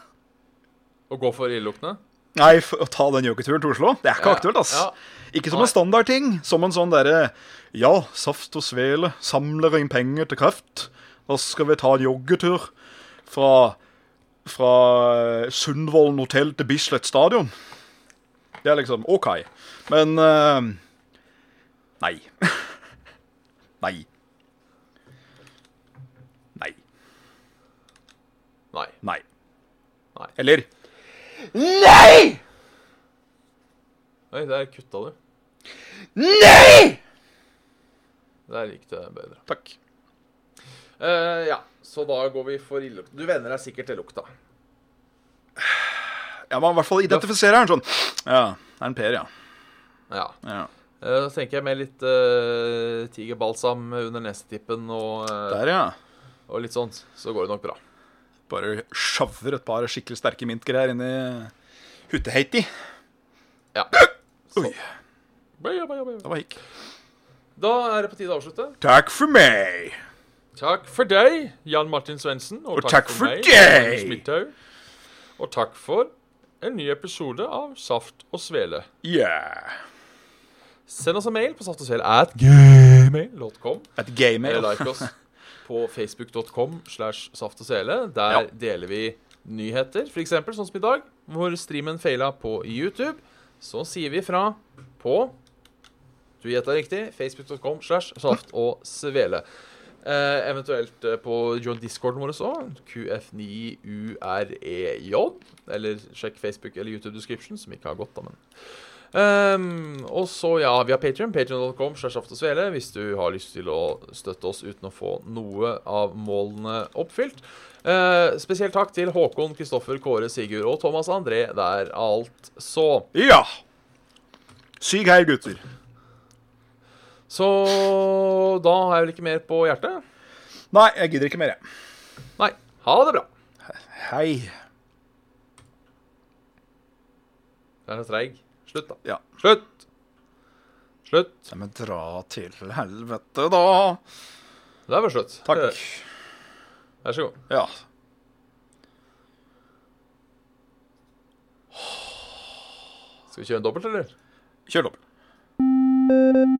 Speaker 2: Og går for illeluktende.
Speaker 3: Nei, for å ta den joggeturen til Oslo, det er ikke
Speaker 2: Ja,
Speaker 3: aktuelt, ass.
Speaker 2: ja.
Speaker 3: Ikke som
Speaker 2: Nei.
Speaker 3: en standardting. Som en sånn derre Ja, saft og svele, samler inn penger til kreft. Da skal vi ta en joggetur fra, fra eh, Sundvolden hotell til Bislett stadion. Det er liksom OK. Men eh, Nei. nei. Nei.
Speaker 2: Nei.
Speaker 3: Nei.
Speaker 2: Nei.
Speaker 3: Eller
Speaker 2: Oi, der kutta du.
Speaker 3: Nei!
Speaker 2: Der gikk det bedre.
Speaker 3: Takk.
Speaker 2: Eh, ja, så da går vi for illelukt. Du venner deg sikkert til lukta.
Speaker 3: Ja, man i hvert fall identifiserer den sånn. Ja, det er en Per, ja.
Speaker 2: Ja.
Speaker 3: ja.
Speaker 2: Eh, Så tenker jeg med litt eh, tigerbalsam under nesetippen og, eh,
Speaker 3: Der, ja.
Speaker 2: og litt sånt, så går det nok bra.
Speaker 3: Bare sjaver et par skikkelig sterke mintgreier inn i hutteheiti.
Speaker 2: Ja.
Speaker 3: Oi,
Speaker 2: Da
Speaker 3: det var hikk.
Speaker 2: er det på tide å avslutte.
Speaker 3: Takk for meg!
Speaker 2: Takk for deg, Jan Martin Svendsen.
Speaker 3: Og takk for
Speaker 2: meg,
Speaker 3: deg!
Speaker 2: Magnus Midthaug. Og takk for en ny episode av Saft og Svele.
Speaker 3: Yeah.
Speaker 2: Send oss en mail på saftogsvele.gmail.com.
Speaker 3: Et altså. gaymail.
Speaker 2: Eller like oss på facebook.com slash saft og sele. Der
Speaker 3: Ja.
Speaker 2: deler vi nyheter, for eksempel sånn som i dag, hvor streamen feila på YouTube. Så sier vi fra på Du gjetta riktig. Facebook.com slash saft og svele. Eh, eventuelt eh, på join discorden vår òg. QF9UREJ. E Eller sjekk Facebook eller YouTube description, som ikke har gått, da, men Ehm, og så, ja, vi har Patreon, Patreon.com slash Saft og Svele, hvis du har lyst til å støtte oss uten å få noe av målene oppfylt. Eh, spesielt takk til Håkon, Kristoffer, Kåre, Sigurd og Thomas André der alt så.
Speaker 3: Ja. Syg hei, gutter.
Speaker 2: Så da har jeg vel ikke mer på hjertet?
Speaker 3: Nei, jeg gidder ikke mer, jeg.
Speaker 2: Nei. Ha det bra.
Speaker 3: Hei.
Speaker 2: Den er treig. Slutt, da.
Speaker 3: Ja.
Speaker 2: Slutt. Slutt.
Speaker 3: Nei, men dra til helvete, da.
Speaker 2: Der var slutt.
Speaker 3: Takk.
Speaker 2: Vær så god.
Speaker 3: Ja.
Speaker 2: Skal vi kjøre en dobbelt, eller?
Speaker 3: Kjør dobbel.